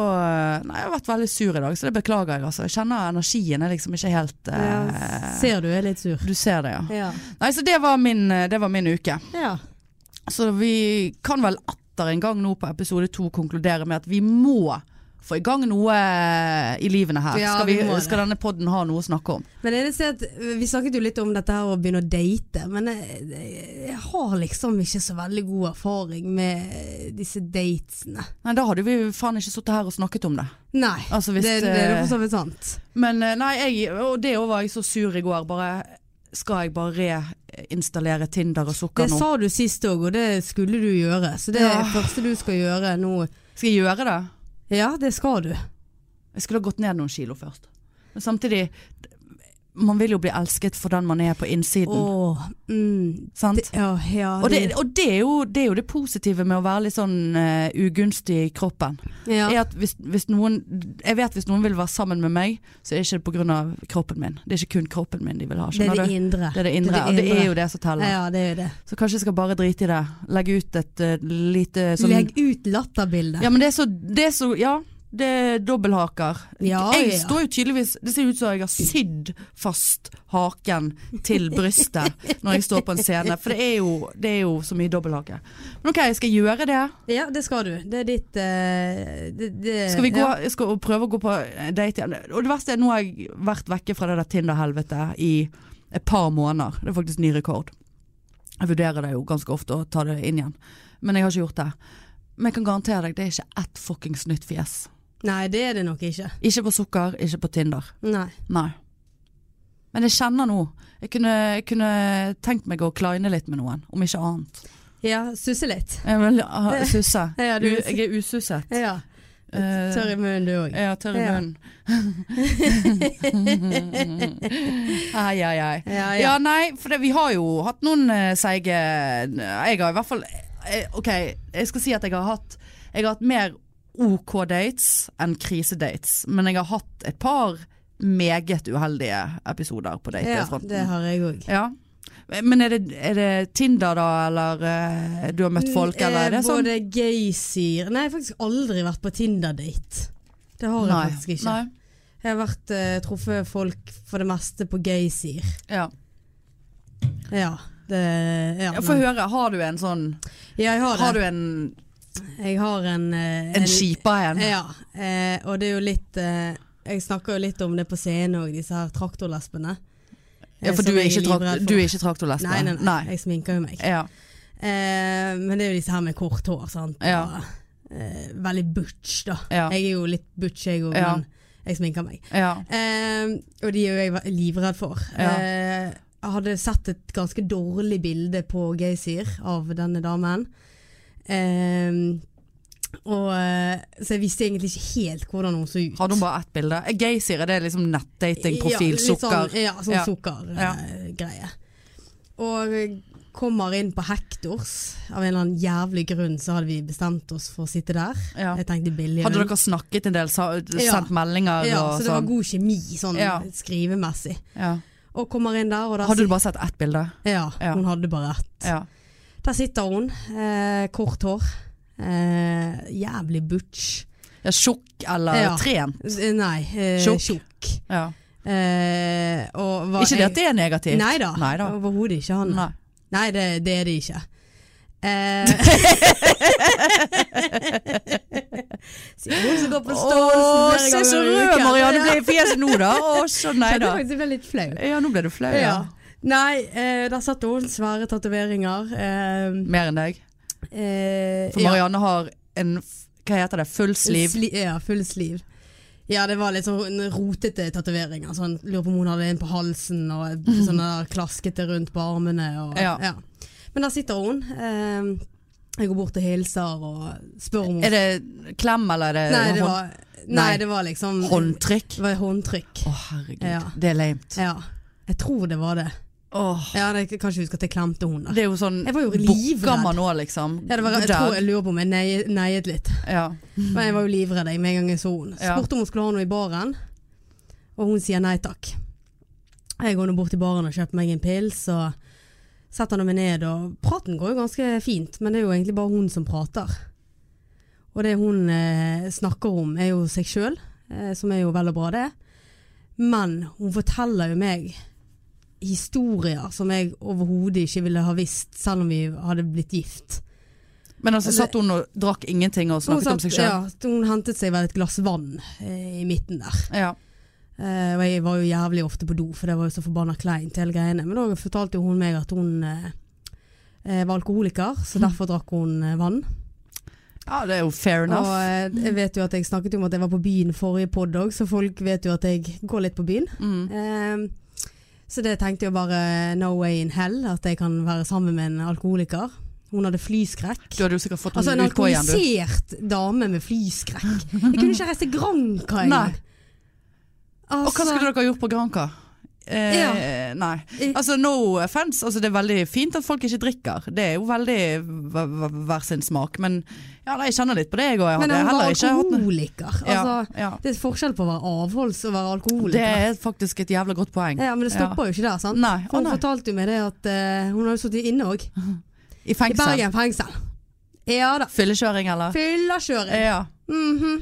S1: Nei, jeg har vært veldig sur i dag, så det beklager jeg, altså. Jeg kjenner energien er liksom ikke helt eh,
S2: Ser du er litt sur.
S1: Du ser det, ja.
S2: Ja.
S1: Nei, så det var min, eh, det var min uke.
S2: ja.
S1: Så vi kan vel atter en gang nå på episode to konkludere med at vi må få i gang noe eh, i livene her.
S2: Ja,
S1: skal, vi,
S2: vi må det.
S1: skal denne podden ha noe å snakke om?
S2: Men det eneste er at eh, Vi snakket jo litt om dette her å begynne å date, men jeg, jeg- jeg har liksom ikke så veldig god erfaring med eh, disse datene.
S1: Nei, da hadde vi faen ikke sittet her og snakket om det.
S2: Nei.
S1: Altså, hvis,
S2: det, det er
S1: eh,
S2: for så vidt sant.
S1: Men eh, nei, jeg, og det òg var jeg så sur i går. Bare skal jeg bare reinstallere Tinder og
S2: Det
S1: sukker nå?
S2: sa du sist òg, og det skulle du gjøre. Så det
S1: Ja.
S2: første du skal gjøre nå
S1: Skal jeg gjøre det?
S2: Ja, det skal du.
S1: Jeg skulle ha gått ned noen kilo først. Men samtidig Man vil jo bli elsket for den man er på innsiden.
S2: Åh, mm,
S1: sant?
S2: det, ja, ja,
S1: og det, og det, er jo, det er jo det positive med å være litt sånn eh, ugunstig i kroppen.
S2: ja.
S1: Er at hvis, hvis noen, jeg vet hvis noen vil være sammen med meg, så er det ikke pga. kroppen min. Det er ikke kun kroppen min de vil ha.
S2: det er
S1: Skjønner
S2: det
S1: du?
S2: indre.
S1: Det er det indre. Og det er jo det som
S2: Ja,
S1: teller.
S2: ja, det er jo det.
S1: Så kanskje jeg skal bare drite i det. Legge ut et eh, lite sånn
S2: Legg ut latterbildet.
S1: Ja, men det er så, det er så Ja, det er dobbelthaker.
S2: Ja,
S1: jeg
S2: ja.
S1: står jo tydeligvis Det ser ut som jeg har sydd fast haken til brystet når jeg står på en scene. For det er jo, det er jo så mye dobbelthake. Men OK, jeg skal gjøre det.
S2: Ja, det skal du. Det er ditt eh, det, det,
S1: Skal vi gå,
S2: Ja.
S1: jeg skal prøve å gå på eh, date igjen? Og det verste er, nå har jeg vært vekke fra det der Tinder-helvetet i et par måneder. Det er faktisk ny rekord. Jeg vurderer det jo ganske ofte å ta det inn igjen, men jeg har ikke gjort det. Men jeg kan garantere deg, det er ikke ett fuckings nytt fjes.
S2: Nei, det er det nok ikke.
S1: Ikke på sukker, ikke på Tinder.
S2: Nei.
S1: Nei. Men jeg kjenner nå. Jeg kunne, jeg kunne tenkt meg å kleine litt med noen, om ikke annet.
S2: Ja, susse litt.
S1: Jeg vil ha susse.
S2: Ja,
S1: U-
S2: du,
S1: Jeg er ususset.
S2: ja.
S1: Eh,
S2: Tørr i munnen du òg.
S1: Ja, tørr i
S2: Ja.
S1: munnen. Ai, ai, ai.
S2: Ja, ja.
S1: Ja, nei, for det, vi har jo hatt noen eh, seige Jeg har i hvert fall eh, OK, jeg skal si at jeg har hatt Jeg har hatt mer OK dates enn krisedates, men jeg har hatt et par meget uheldige episoder på
S2: Ja,
S1: datefronten.
S2: det har jeg òg.
S1: Ja. Men er det, er det Tinder da, eller eh, du har møtt folk, eller er det sånn?
S2: Mm, Både gaysier Nei, jeg har faktisk aldri vært på Tinder-date. Det har jeg faktisk ikke.
S1: Nei.
S2: Jeg har vært eh, truffet folk for det meste på gaysier.
S1: Ja.
S2: Ja. Det, ja,
S1: Ja, Få
S2: men-
S1: høre, har du en sånn
S2: ja, jeg har det.
S1: Har du en,
S2: Jeg har en eh,
S1: en skipa en?
S2: Ja, eh, og det er jo litt eh, Jeg snakker jo litt om det på scenen òg, disse her traktorlesbene.
S1: Ja,
S2: Eh,
S1: for
S2: som
S1: du er
S2: jeg
S1: ikke, trakt,
S2: livredd for.
S1: du er ikke traktorlesbe?
S2: Nei, nei, nei, Jeg sminker jo meg.
S1: Ja.
S2: Eh, men det er jo disse her med kort hår, sant.
S1: Ja.
S2: Og, eh, veldig butch, da.
S1: Ja.
S2: Jeg er jo litt butch, jeg òg,
S1: Ja.
S2: men jeg sminker meg.
S1: ja.
S2: Eh, og de er jo jeg ve- livredd for.
S1: Ja.
S2: Eh, jeg hadde sett et ganske dårlig bilde på Geysir av denne damen. Eh, og, eh, så jeg visste egentlig ikke helt hvordan hun så ut.
S1: Hadde hun bare ett bilde? Geysir, er det liksom nettdating, profil,
S2: Ja, litt
S1: sukker?
S2: Sånn, ja, sånn
S1: Ja. Ja.
S2: sukkergreie. Og kommer inn på Hectors. Av en eller annen jævlig grunn så hadde vi bestemt oss for å sitte der.
S1: Ja.
S2: Jeg tenkte billig.
S1: Hadde
S2: men-
S1: dere snakket en del, sa,
S2: Ja.
S1: sendt meldinger
S2: ja,
S1: og
S2: så det var
S1: sånn?
S2: god kjemi, sånn
S1: Ja.
S2: skrivemessig.
S1: Ja.
S2: Og kommer inn der, og der
S1: Hadde du bare sett ett bilde?
S2: Ja,
S1: Ja.
S2: hun hadde bare ett.
S1: Ja.
S2: Der sitter hun. Eh, kort hår. Eh, jævlig butch.
S1: ja tjukk eller
S2: Ja.
S1: trent?
S2: Eh, Nei, eh,
S1: Tjukk.
S2: tjukk.
S1: Ja.
S2: Eh, og var
S1: Ikke det at det er negativt?
S2: Nei da.
S1: Neida.
S2: Overhodet ikke. Han. Nei,
S1: Nei.
S2: det, det er det ikke. Eh, Sier hun som går på
S1: Åh,
S2: ståelsen flere
S1: se så
S2: ganger i
S1: rød
S2: uken.
S1: Marianne
S2: Ja.
S1: ble i fjeset nå, da! Å, så nei
S2: Kjente
S1: da.
S2: faktisk jeg ble litt flau.
S1: Ja, nå ble du flau.
S2: Ja.
S1: Ja.
S2: Nei, eh, der satt hun. Svære tatoveringer. Eh,
S1: Mer enn deg.
S2: eh,
S1: For
S2: ja.
S1: Marianne har en f- Hva heter det? Full sleeve?
S2: Sli ja, full sliv. Ja, det var litt sånn rotete tatoveringer. Sånn, lurer på om hun hadde en på halsen og sånne der klaskete rundt på armene. Og,
S1: Mhm. Ja.
S2: Men der sitter hun. Eh, jeg går bort og hilser og spør om hun
S1: Er det klem, eller er det,
S2: nei, det var, nei,
S1: Nei.
S2: det var liksom
S1: hånd, håndtrykk?
S2: Det var håndtrykk.
S1: Å, herregud.
S2: Ja.
S1: Det er lame.
S2: Ja. Jeg tror det var det.
S1: Åh
S2: Ja, det, Kanskje husker at jeg klemte hun da.
S1: Det er jo sånn
S2: Jeg var jo livredd.
S1: Bokkammer nå, liksom.
S2: Ja, det var, jeg,
S1: God
S2: tror,
S1: dag.
S2: jeg lurer på om jeg nei- neiet litt.
S1: ja.
S2: Men jeg var jo livredd jeg, med en gang jeg så henne.
S1: Ja.
S2: Spurte om hun skulle ha noe i baren, og hun sier nei takk. Jeg går nå bort til baren og kjøper meg en pils, og setter meg ned, og praten går jo ganske fint, men det er jo egentlig bare hun som prater. Og det hun eh, snakker om, er jo seg sjøl, eh, som er jo vel og bra, det. Men hun forteller jo meg historier som jeg overhodet ikke ville ha visst, selv om vi hadde blitt gift.
S1: Men altså satt hun og drakk ingenting og snakket
S2: Hun
S1: om
S2: satt-
S1: seg sjøl?
S2: Ja, hun hentet seg vel et glass vann eh, i midten der.
S1: Ja.
S2: Eh, og jeg var jo jævlig ofte på do, for det var jo så forbanna kleint hele greiene. Men da fortalte jo hun meg at hun eh, eh, var alkoholiker,
S1: Mm.
S2: så derfor drakk hun eh, vann.
S1: ja, det er jo fair
S2: Og
S1: enough. Mm.
S2: eh, jeg vet jo at jeg snakket jo om at jeg var på byen forrige podd òg, så folk vet jo at jeg går litt på byen.
S1: Mm.
S2: Eh, så det tenkte jeg bare no way in hell, at jeg kan være sammen med en alkoholiker. Hun hadde flyskrekk.
S1: Du hadde jo sikkert fått
S2: Altså en
S1: henne utpå igjen, du.
S2: alkoholisert dame med flyskrekk. Jeg kunne ikke reist til Altså, Granca
S1: Nei.
S2: engang.
S1: Og hva skulle dere ha gjort på Granca? Eh,
S2: Ja.
S1: Nei. Altså No offense, altså, det er veldig fint at folk ikke drikker. Det er jo veldig hver- hver hver sin smak. Men ja, nei, jeg kjenner litt på det, jeg òg. Jeg
S2: Men
S1: hadde
S2: han var
S1: heller ikke hatt noe-
S2: alkoholiker. Altså,
S1: ja, ja.
S2: Det er et forskjell på å være avholds og å være
S1: Det
S2: alkoholiker.
S1: er faktisk et jævla godt poeng.
S2: Ja, men det stopper jo ikke der, sant?
S1: Nei,
S2: For
S1: å
S2: hun
S1: nei.
S2: fortalte jo meg det at eh, hun hadde sittet inne òg.
S1: I
S2: I
S1: fengsel.
S2: Bergen fengsel. Ja da.
S1: Fyllekjøring, eller?
S2: Fyllekjøring.
S1: Ja.
S2: Mhm.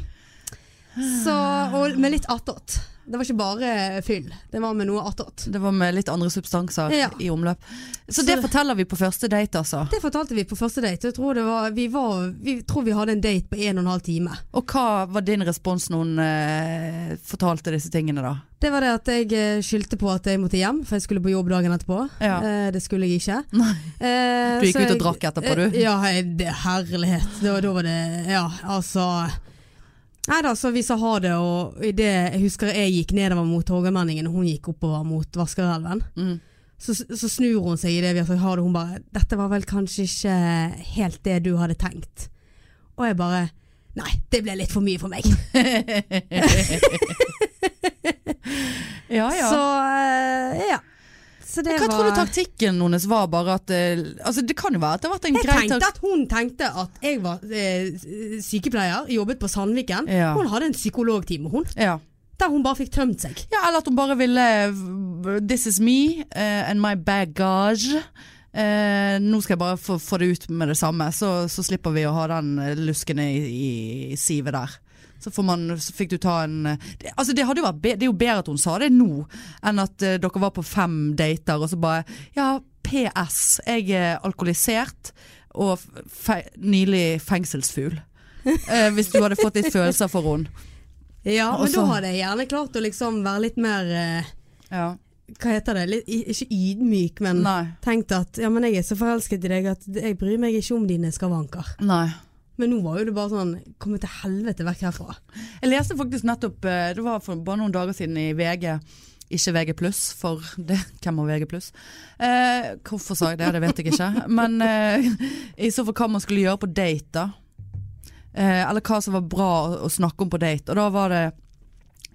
S2: Så, og med litt attåt. Det var ikke bare fyll, det var med noe attåt.
S1: Det var med litt andre substanser
S2: Ja.
S1: i omløp. Så,
S2: Så-
S1: det forteller vi på første date, altså.
S2: Det fortalte vi på første date. Jeg tror, det var, vi, var, vi tror vi hadde en date på en og en halv time.
S1: Og hva var din respons når hun eh, fortalte disse tingene, da?
S2: Det var det at jeg eh, skyldte på at jeg måtte hjem, for jeg skulle på jobb dagen etterpå.
S1: Ja.
S2: Eh, det skulle jeg ikke.
S1: Nei.
S2: Eh,
S1: Du gikk ut
S2: så
S1: og
S2: jeg-
S1: drakk etterpå, du?
S2: Eh, Ja, jeg- det herlighet. Da, da var det Ja, altså Nei da, så vi sa ha det, og i det jeg husker jeg gikk nedover mot Torgallmenningen, og hun gikk oppover mot Vaskerelven.
S1: Mm.
S2: Så, så snur hun seg i det vi har sagt ha det, og hun bare 'Dette var vel kanskje ikke helt det du hadde tenkt'. Og jeg bare Nei, det ble litt for mye for meg.
S1: Ja, ja.
S2: Så eh, ja. Så det
S1: Hva
S2: var
S1: tror du taktikken hennes var bare at eh, Altså det kan jo være at det har vært en
S2: Jeg
S1: grei
S2: tenkte at hun tenkte at jeg var eh, sykepleier, jobbet på Sandviken.
S1: Ja.
S2: Hun hadde en psykologtime, hun.
S1: ja.
S2: Der hun bare fikk tømt seg.
S1: ja, eller at hun bare ville eh, This is me eh, and my baggage Eh, nå skal jeg bare få, få det ut med det samme Så, så slipper vi å ha den eh, lusken i, i, i sivet der så, får man, så fikk du ta en eh, det, altså det, hadde jo vært, be- det er jo bedre at hun sa det nå Enn at eh, dere var på fem dater Og så bare, ja, PS Jeg er alkoholisert Og f- fe, nylig fengselsfugl eh, Hvis du hadde fått litt følelser for henne
S2: Ja, men
S1: Også-
S2: da hadde jeg gjerne klart å liksom være litt mer eh,
S1: Ja,
S2: Hva heter det? Litt, i- ikke ydmyk, men
S1: nei,
S2: tenkt at ja, men jeg er så forelsket i deg at jeg bryr meg ikke om dine skavanker.
S1: nei.
S2: Men nå var jo det bare sånn Komme til helvete vekk herfra.
S1: Jeg leste faktisk nettopp, eh, det var for bare noen dager siden i VG, ikke VG+, pluss, for det, hvem har VG+. pluss? Eh, hvorfor sa jeg det, det vet jeg ikke. Men eh, i så fall hva man skulle gjøre på date da. Eh, eller hva som var bra å- å snakke om på date. Og da var det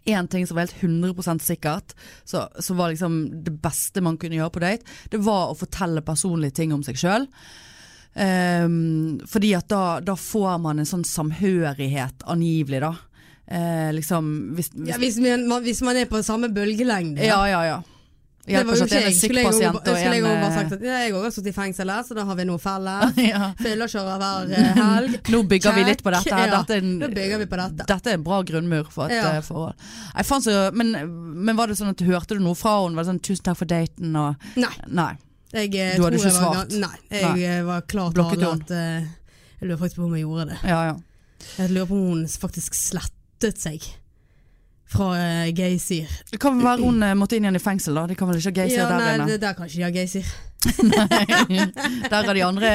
S1: en ting som var helt 100% sikkert, så, så var liksom det beste man kunne gjøre på date, det var å fortelle personlige ting om seg selv. Ehm, fordi at da, da får man en sånn samhørighet angivelig da. Eh, liksom, hvis, hvis,
S2: Ja, hvis, man, man- hvis man er på samme bølgelengde.
S1: ja, ja, ja.
S2: Det var
S1: Hjelper
S2: jo
S1: ikke at
S2: ikke
S1: det er
S2: jeg.
S1: en syk
S2: Skulle jeg jo
S1: pasient
S2: bare-
S1: og
S2: skulle jeg
S1: en
S2: jo bare
S1: eh,
S2: sagt at ja, jeg også har sittet i fengsel her, så da har vi noe felle.
S1: ja.
S2: Fyllekjører hver eh, helg.
S1: Nå bygger vi litt på
S2: Check.
S1: dette. her.
S2: Ja,
S1: Dette er en,
S2: Nå bygger vi på dette.
S1: dette er en bra grunnmur for et
S2: Ja.
S1: eh, forhold. Nei, faen så, men, men var det sånn at du hørte du noe fra henne? Var det sånn 'tusen takk for daten' og
S2: Nei,
S1: Nei.
S2: jeg eh,
S1: Du hadde
S2: tror
S1: ikke
S2: jeg var
S1: svart?
S2: ga- Nei, jeg
S1: Nei.
S2: eh, var klar
S1: Blokket
S2: tale at eh, Jeg lurer faktisk på om jeg gjorde det.
S1: Ja ja.
S2: Jeg lurer på om hun faktisk slettet seg fra uh, Geysir.
S1: Det kan vel være hun eh, måtte inn igjen i fengsel, da. De kan vel ikke ha geysir
S2: Ja,
S1: der
S2: nei,
S1: inne?
S2: det der kan ikke de ha Geysir.
S1: Nei. der er de andre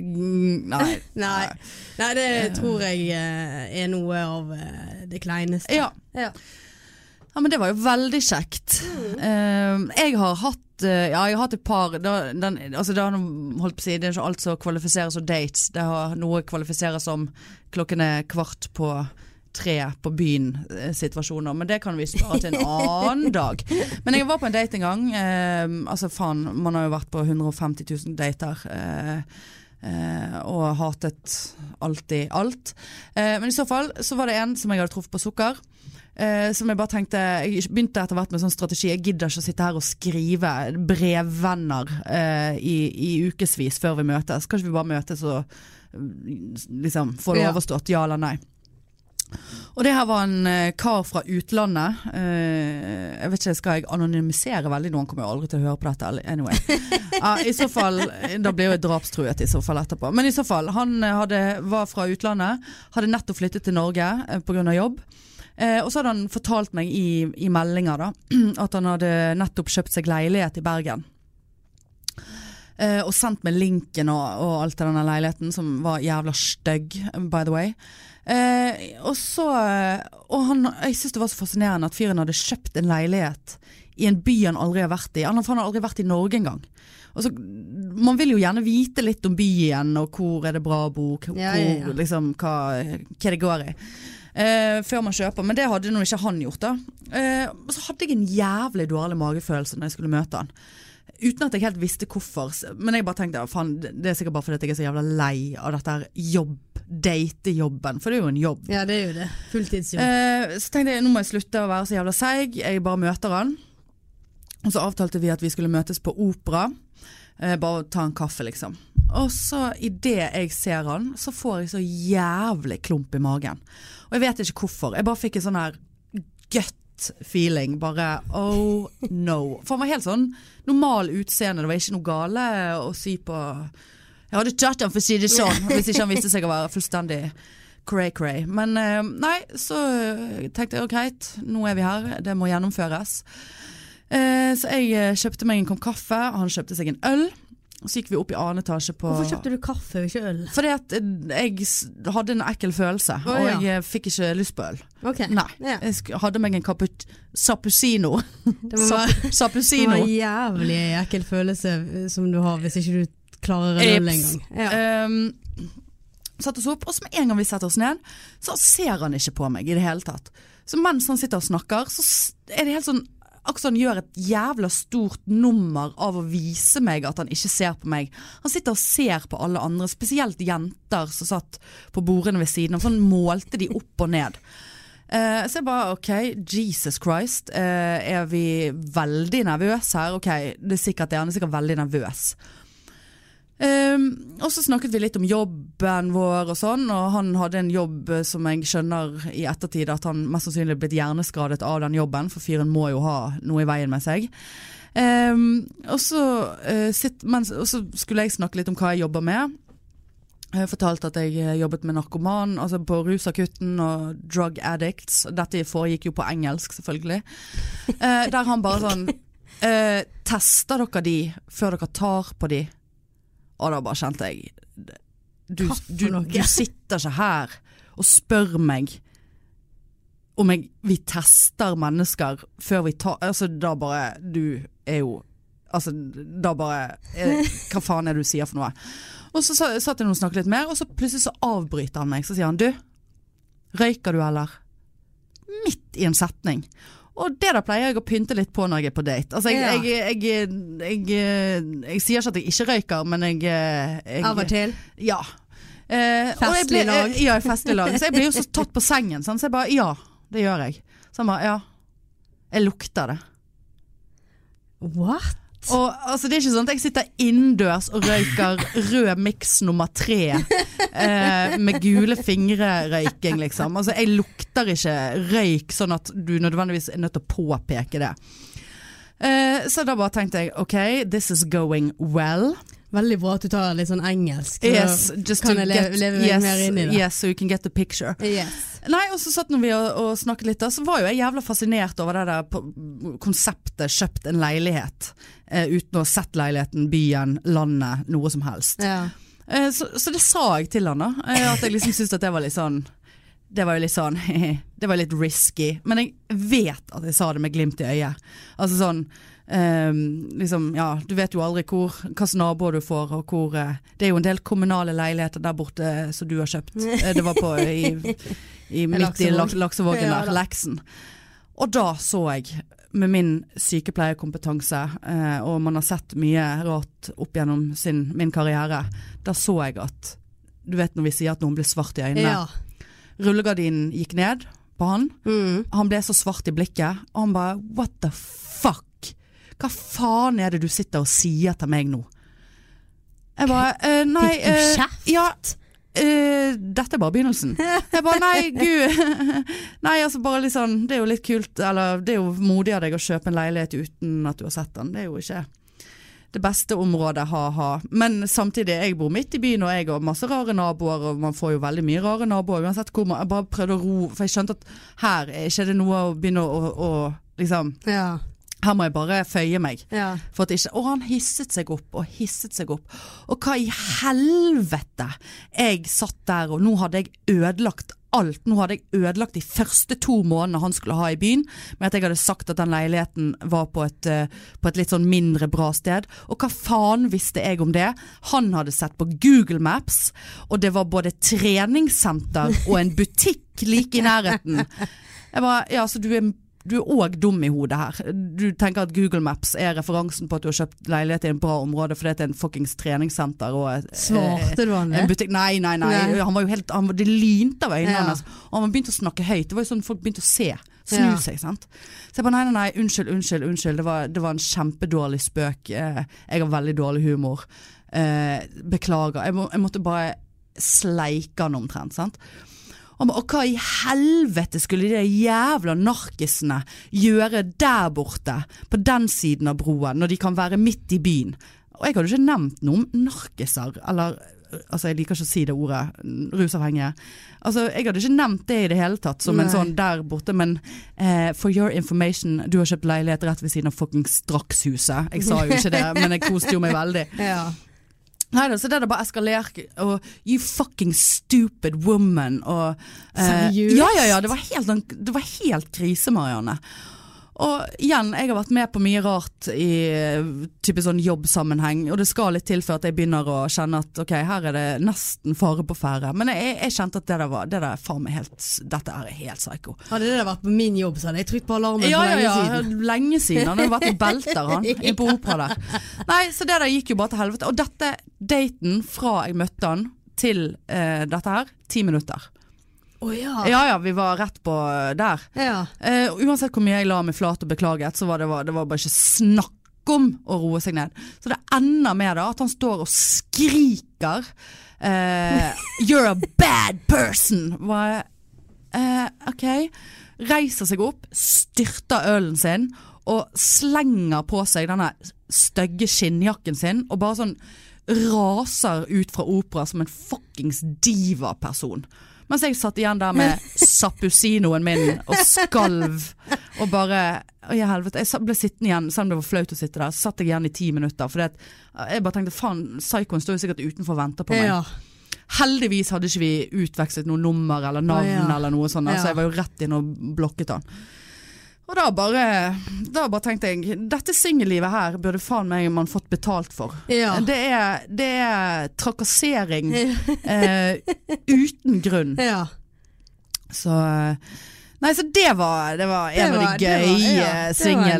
S1: mm, Nei.
S2: Nei. nei, det tror jeg eh, er noe av eh, det kleineste.
S1: Ja.
S2: Ja.
S1: Ja, men det var jo veldig kjekt. Eh, jeg har hatt eh, Ja, jeg har hatt et par da, den, altså, det, har nå- holdt på å si, det er ikke alt som kvalifiserer som dates. Det har noe kvalifiserer som klokken er kvart på tre på byen-situasjoner. Men det kan vi spare til en annen dag. Men jeg var på en date en gang. eh, altså faen, man har jo vært på 150 000 dater. eh, eh, og hatet alltid alt. Eh, men i så fall så var det en som jeg hadde truffet på sukker. Eh, som jeg bare tenkte Jeg begynte etter hvert med sånn strategi. Jeg gidder ikke å sitte her og skrive brevvenner eh, i, i ukevis før vi møtes. Kanskje vi bare møtes og liksom, få det
S2: Ja.
S1: overstått, ja eller nei. Og det her var en eh, kar fra utlandet. Eh, jeg vet ikke, Skal jeg anonymisere veldig nå? Han kommer jo aldri til å høre på dette. eller- Anyway. Ja, i så fall, Da blir jo jeg drapstruet i så fall etterpå. Men i så fall, han eh, hadde, var fra utlandet. Hadde nettopp flyttet til Norge pga. jobb. Eh, og så hadde han fortalt meg i, i meldinger da, at han hadde nettopp kjøpt seg leilighet i Bergen. Eh, og sendt meg linken og, og alt til denne leiligheten, som var jævla stygg, by the way. Eh, og så eh, Og han, jeg syns det var så fascinerende at fyren hadde kjøpt en leilighet i en by han aldri har vært i. Han, for han har aldri vært i Norge engang. Og så, man vil jo gjerne vite litt om byen, og hvor er det bra å bo, hvor,
S2: Ja, ja, ja.
S1: hvor, Liksom, hva, hva det går i. Eh, før man kjøper, men det hadde nå ikke han gjort. da eh, Og så hadde jeg en jævlig dårlig magefølelse når jeg skulle møte han. Uten at jeg helt visste hvorfor. s- Men jeg bare tenkte "Ja, faen, det det er sikkert bare fordi at jeg er så jævla lei av dette her jobb, datejobben. For det er jo en jobb.
S2: Ja, det er jo det. Fulltidsjobb.
S1: Eh, så tenkte jeg nå må jeg slutte å være så jævla seig, jeg bare møter han. Og så avtalte vi at vi skulle møtes på opera. Eh, bare ta en kaffe, liksom. Og så idet jeg ser han, så får jeg så jævlig klump i magen. Og jeg vet ikke hvorfor. Jeg bare fikk en sånn her gut feeling. Bare oh no. For han var helt sånn normal utseende. Det var ikke noe gale å si på Jeg hadde tatt han for å si det sånn, hvis ikke han viste seg å være fullstendig cray-cray. Men eh, nei, så eh, tenkte jeg ok, greit, nå er vi her. Det må gjennomføres. Eh, så jeg eh, kjøpte meg en kopp kaffe, han kjøpte seg en øl. Så gikk vi opp i annen etasje på
S2: Hvorfor kjøpte du kaffe og ikke øl?
S1: Fordi at eh, jeg s- hadde en ekkel følelse,
S2: Å,
S1: og
S2: ja.
S1: jeg eh, fikk ikke lyst på øl.
S2: Ok.
S1: Nei. Eh,
S2: Ja.
S1: Jeg sk- hadde meg en cappuc- sappuccino.
S2: Det må være
S1: Sa-
S2: det må være
S1: Sappuccino.
S2: en jævlig ekkel følelse eh, som du har hvis ikke du klarer en øl
S1: Eps.
S2: engang. Ja.
S1: Ehm, satt oss opp, og så med en gang vi setter oss ned, så ser han ikke på meg i det hele tatt. Så mens han sitter og snakker, så s- er det helt sånn Akkurat som han gjør et jævla stort nummer av å vise meg at han ikke ser på meg. Han sitter og ser på alle andre, spesielt jenter som satt på bordene ved siden av. Sånn målte de opp og ned. Eh, så jeg bare OK, Jesus Christ. eh, er vi veldig nervøse her? OK, det er sikkert det. Han er sikkert veldig nervøs. Ehm, og så snakket vi litt om jobben vår og sånn, og han hadde en jobb eh, som jeg skjønner i ettertid at han mest sannsynlig er blitt hjerneskadet av den jobben, for fyren må jo ha noe i veien med seg. Ehm, og, så, eh, sitt, mens, og så skulle jeg snakke litt om hva jeg jobber med. Jeg fortalte at jeg eh, jobbet med narkoman, altså på rusakutten og drug addicts. Dette foregikk jo på engelsk, selvfølgelig. Eh, der han bare sånn eh, Tester dere de før dere tar på de? Og da bare kjente jeg Du,
S2: Hva for
S1: du,
S2: noe?
S1: du sitter ikke her og spør meg om jeg, vi tester mennesker før vi tar Altså, da bare Du er jo Altså, da bare eh, Hva faen er det du sier for noe? Og så sa- satt jeg nå og snakket litt mer, og så plutselig så avbryter han meg. Så sier han, du, røyker du eller? Midt i en setning. Og det da pleier jeg å pynte litt på når jeg er på date. Altså, jeg,
S2: Ja.
S1: jeg, jeg, jeg, jeg, jeg sier ikke at jeg ikke røyker, men jeg, jeg
S2: Av og til.
S1: ja. Eh, og jeg ble-
S2: Festlig lag.
S1: eh, Ja, i festlig lag. Så jeg blir jo så tatt på sengen. sant? Så jeg bare ja, det gjør jeg. Så han bare ja, jeg lukter det.
S2: What?
S1: Og altså, det er ikke sånn at jeg sitter innendørs og røyker rød miks nummer tre eh, med gule fingre-røyking, liksom. Altså, jeg lukter ikke røyk sånn at du nødvendigvis er nødt til å påpeke det. Eh, så da bare tenkte jeg OK, this is going well.
S2: Veldig bra at du tar litt sånn engelsk.
S1: Yes,
S2: så
S1: just
S2: kan
S1: to
S2: jeg le
S1: get,
S2: leve meg
S1: yes,
S2: mer inn i det.
S1: yes, so you can get the picture.
S2: Yes.
S1: Nei, og så satt når vi og, og snakket litt da, så var jo jeg jævla fascinert over det der på- konseptet kjøpt en leilighet, eh, uten å ha sett leiligheten, byen, landet, noe som helst.
S2: Ja.
S1: Eh, så, så det sa jeg til han da, eh, at jeg liksom syntes at det var litt sånn, det var jo litt sånn, det var litt risky, men jeg vet at jeg sa det med glimt i øyet. Altså sånn, eh, liksom, ja, du vet jo aldri hvor, hva slags naboer du får, og hvor, eh, det er jo en del kommunale leiligheter der borte eh, som du har kjøpt. Eh, det var på, i, i midt i
S2: Laksevåg.
S1: lak- laksevågen
S2: Ja,
S1: der,
S2: da.
S1: Leksen. Og da så jeg, med min sykepleierkompetanse, eh, og man har sett mye rart opp gjennom sin, min karriere, da så jeg at Du vet når vi sier at noen blir svart i øynene?
S2: ja.
S1: Rullegardinen gikk ned på han.
S2: Mm.
S1: Han ble så svart i blikket, og han bare What the fuck? Hva faen er det du sitter og sier til meg nå? Jeg bare eh, Nei
S2: Fikk du
S1: eh,
S2: kjeft?
S1: Ja, eh, dette er bare begynnelsen. Jeg bare nei, gud. Nei, altså bare litt sånn, det er jo litt kult, eller det er jo modig av deg å kjøpe en leilighet uten at du har sett den. Det er jo ikke det beste området, ha-ha. Men samtidig, jeg bor midt i byen og jeg har masse rare naboer, og man får jo veldig mye rare naboer uansett hvor man Jeg bare prøvde å ro, for jeg skjønte at her er ikke det noe å begynne å, å, å liksom
S2: Ja.
S1: Her må jeg bare føye meg.
S2: ja.
S1: For at ikke, og han hisset seg opp og hisset seg opp. Og hva i helvete! Jeg satt der, og nå hadde jeg ødelagt alt. Nå hadde jeg ødelagt de første to månedene han skulle ha i byen, med at jeg hadde sagt at den leiligheten var på et, eh, på et litt sånn mindre bra sted. Og hva faen visste jeg om det? Han hadde sett på Google Maps, og det var både treningssenter og en butikk like i nærheten. Jeg bare, ja, så du er du er òg dum i hodet her. Du tenker at Google Maps er referansen på at du har kjøpt leilighet i en bra område fordi det er en fuckings treningssenter og et,
S2: Svarte du han
S1: en
S2: det?
S1: butikk. Nei, nei, nei.
S2: Nei.
S1: Han var jo helt, han, var- det lynte av øynene
S2: Ja.
S1: hans. Og han begynte å snakke høyt. Det var jo sånn folk begynte å se. Snu
S2: Ja.
S1: seg, sant. Så jeg bare nei, nei, nei, unnskyld, unnskyld. unnskyld. Det var, det var en kjempedårlig spøk. Eh, Jeg har veldig dårlig humor. Eh, Beklager. Jeg, må, jeg måtte bare sleike han omtrent, sant. Han ba, Og hva i helvete skulle de jævla narkisene gjøre der borte, på den siden av broen, når de kan være midt i byen? Og jeg hadde jo ikke nevnt noe om narkiser, eller Altså, jeg liker ikke å si det ordet, rusavhengige. Altså, jeg hadde ikke nevnt det i det hele tatt, som en
S2: Nei.
S1: sånn der borte, men eh, for your information, du har kjøpt leilighet rett ved siden av fuckings Strakshuset. Jeg sa jo ikke det, men jeg koste jo meg veldig.
S2: Ja.
S1: Nei da, så det er bare eskalert og You fucking stupid woman og eh,
S2: Seriøst?
S1: Ja, ja, ja. Det var helt, sånn- det var helt krise, Marianne. Og igjen, jeg har vært med på mye rart i eh, type sånn jobbsammenheng, og det skal litt til for at jeg begynner å kjenne at ok, her er det nesten fare på ferde. Men jeg, jeg kjente at det der var det der er faen meg helt Dette her er helt psycho.
S2: Hadde det der vært på min jobb, så hadde jeg trykt på alarmen
S1: Ja,
S2: for
S1: ja,
S2: lenge
S1: ja.
S2: siden.
S1: Lenge siden. Han hadde vært i belter, han. i På opera der. Nei, så det der gikk jo bare til helvete. Og dette daten fra jeg møtte han til eh, dette her, ti minutter.
S2: Å ja.
S1: Ja ja, vi var rett på der.
S2: Ja.
S1: Eh, og uansett hvor mye jeg la meg flat og beklaget, så var det, var, det var bare ikke snakk om å roe seg ned. Så det ender med da at han står og skriker eh, You're a bad person! Bare, eh, ok. Reiser seg opp, styrter ølen sin og slenger på seg denne stygge skinnjakken sin og bare sånn raser ut fra opera som en fuckings divaperson. Mens jeg satt igjen der med sappusinoen min og skalv og bare Å, i helvete. Jeg sa- ble sittende igjen, selv om det var flaut å sitte der, så satt jeg igjen i ti minutter. For jeg bare tenkte faen, psykoen står jo sikkert utenfor og venter på meg.
S2: ja.
S1: Heldigvis hadde ikke vi utvekslet noe nummer eller navn
S2: Å, ja.
S1: eller noe sånt,
S2: Ja.
S1: så jeg var jo rett inn og blokket han. Og da bare, da bare tenkte jeg, dette singellivet her burde faen meg man fått betalt for.
S2: Ja.
S1: Det, er, det er trakassering eh, uten grunn.
S2: ja.
S1: Så eh, Nei, så det var, det var en
S2: Det
S1: av
S2: var-
S1: de
S2: det var-
S1: gøye
S2: ja, det var en, eh,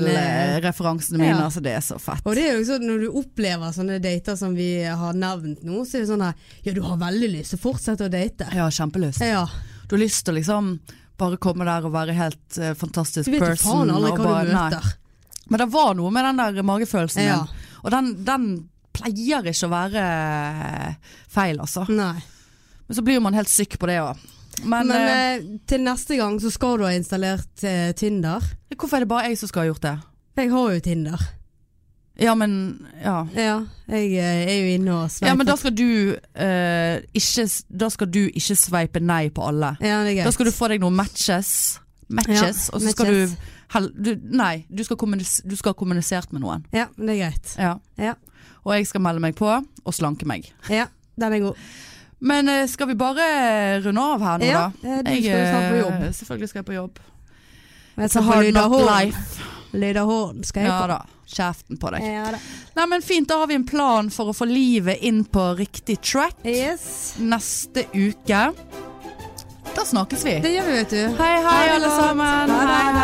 S1: singelreferansene mine.
S2: ja.
S1: Altså, det er så fett.
S2: Og det er jo sånn når du opplever sånne dater som vi har nevnt nå, så er det sånn her Ja, du har veldig lyst til å fortsette å date.
S1: Jeg har kjempelyst.
S2: Ja.
S1: Du har lyst til å liksom bare komme der og være helt eh, fantastisk
S2: Du vet jo
S1: person.
S2: faen aldri
S1: og
S2: hva
S1: bare-
S2: du
S1: nei.
S2: møter.
S1: Men det var noe med den der magefølelsen
S2: Ja.
S1: min. Og den, den pleier ikke å være feil, altså.
S2: Nei.
S1: Men så blir jo man helt syk på det òg. Men,
S2: Men eh, til neste gang så skal du ha installert eh, Tinder.
S1: eh, hvorfor er det bare jeg som skal ha gjort det?
S2: Jeg har jo Tinder.
S1: Ja, men Ja.
S2: Ja, jeg eh, er jo inne og sveiper.
S1: Ja, men da skal du eh, ikke Da skal du ikke sveipe nei på alle.
S2: Ja, det er greit.
S1: Da skal du få deg noen matches. Matches,
S2: Ja,
S1: og så skal
S2: matches.
S1: du, hel, du Nei, du skal, kommunis, du skal ha kommunisert med noen.
S2: Ja, det er greit.
S1: Ja.
S2: Ja.
S1: Og jeg skal melde meg på og slanke meg.
S2: Ja, den er god.
S1: Men eh, skal vi bare eh, runde av her nå,
S2: Ja,
S1: da?
S2: eh, du skal jo snart på
S1: eh,
S2: jobb.
S1: Selvfølgelig skal jeg på jobb. It's
S2: Jeg
S1: a
S2: skal på
S1: hard knock
S2: Lyderhorn.
S1: life.
S2: Lyderhorn skal jeg
S1: Ja
S2: på.
S1: da. Kjeften på deg.
S2: Ja da.
S1: Nei, men fint, da har vi en plan for å få livet inn på riktig track
S2: Yes.
S1: neste uke. Da snakkes vi.
S2: Det gjør vi, vet du.
S1: Hei, hei,
S2: Ha det
S1: alle
S2: godt.
S1: sammen.
S2: Ha det.
S1: Hei, hei.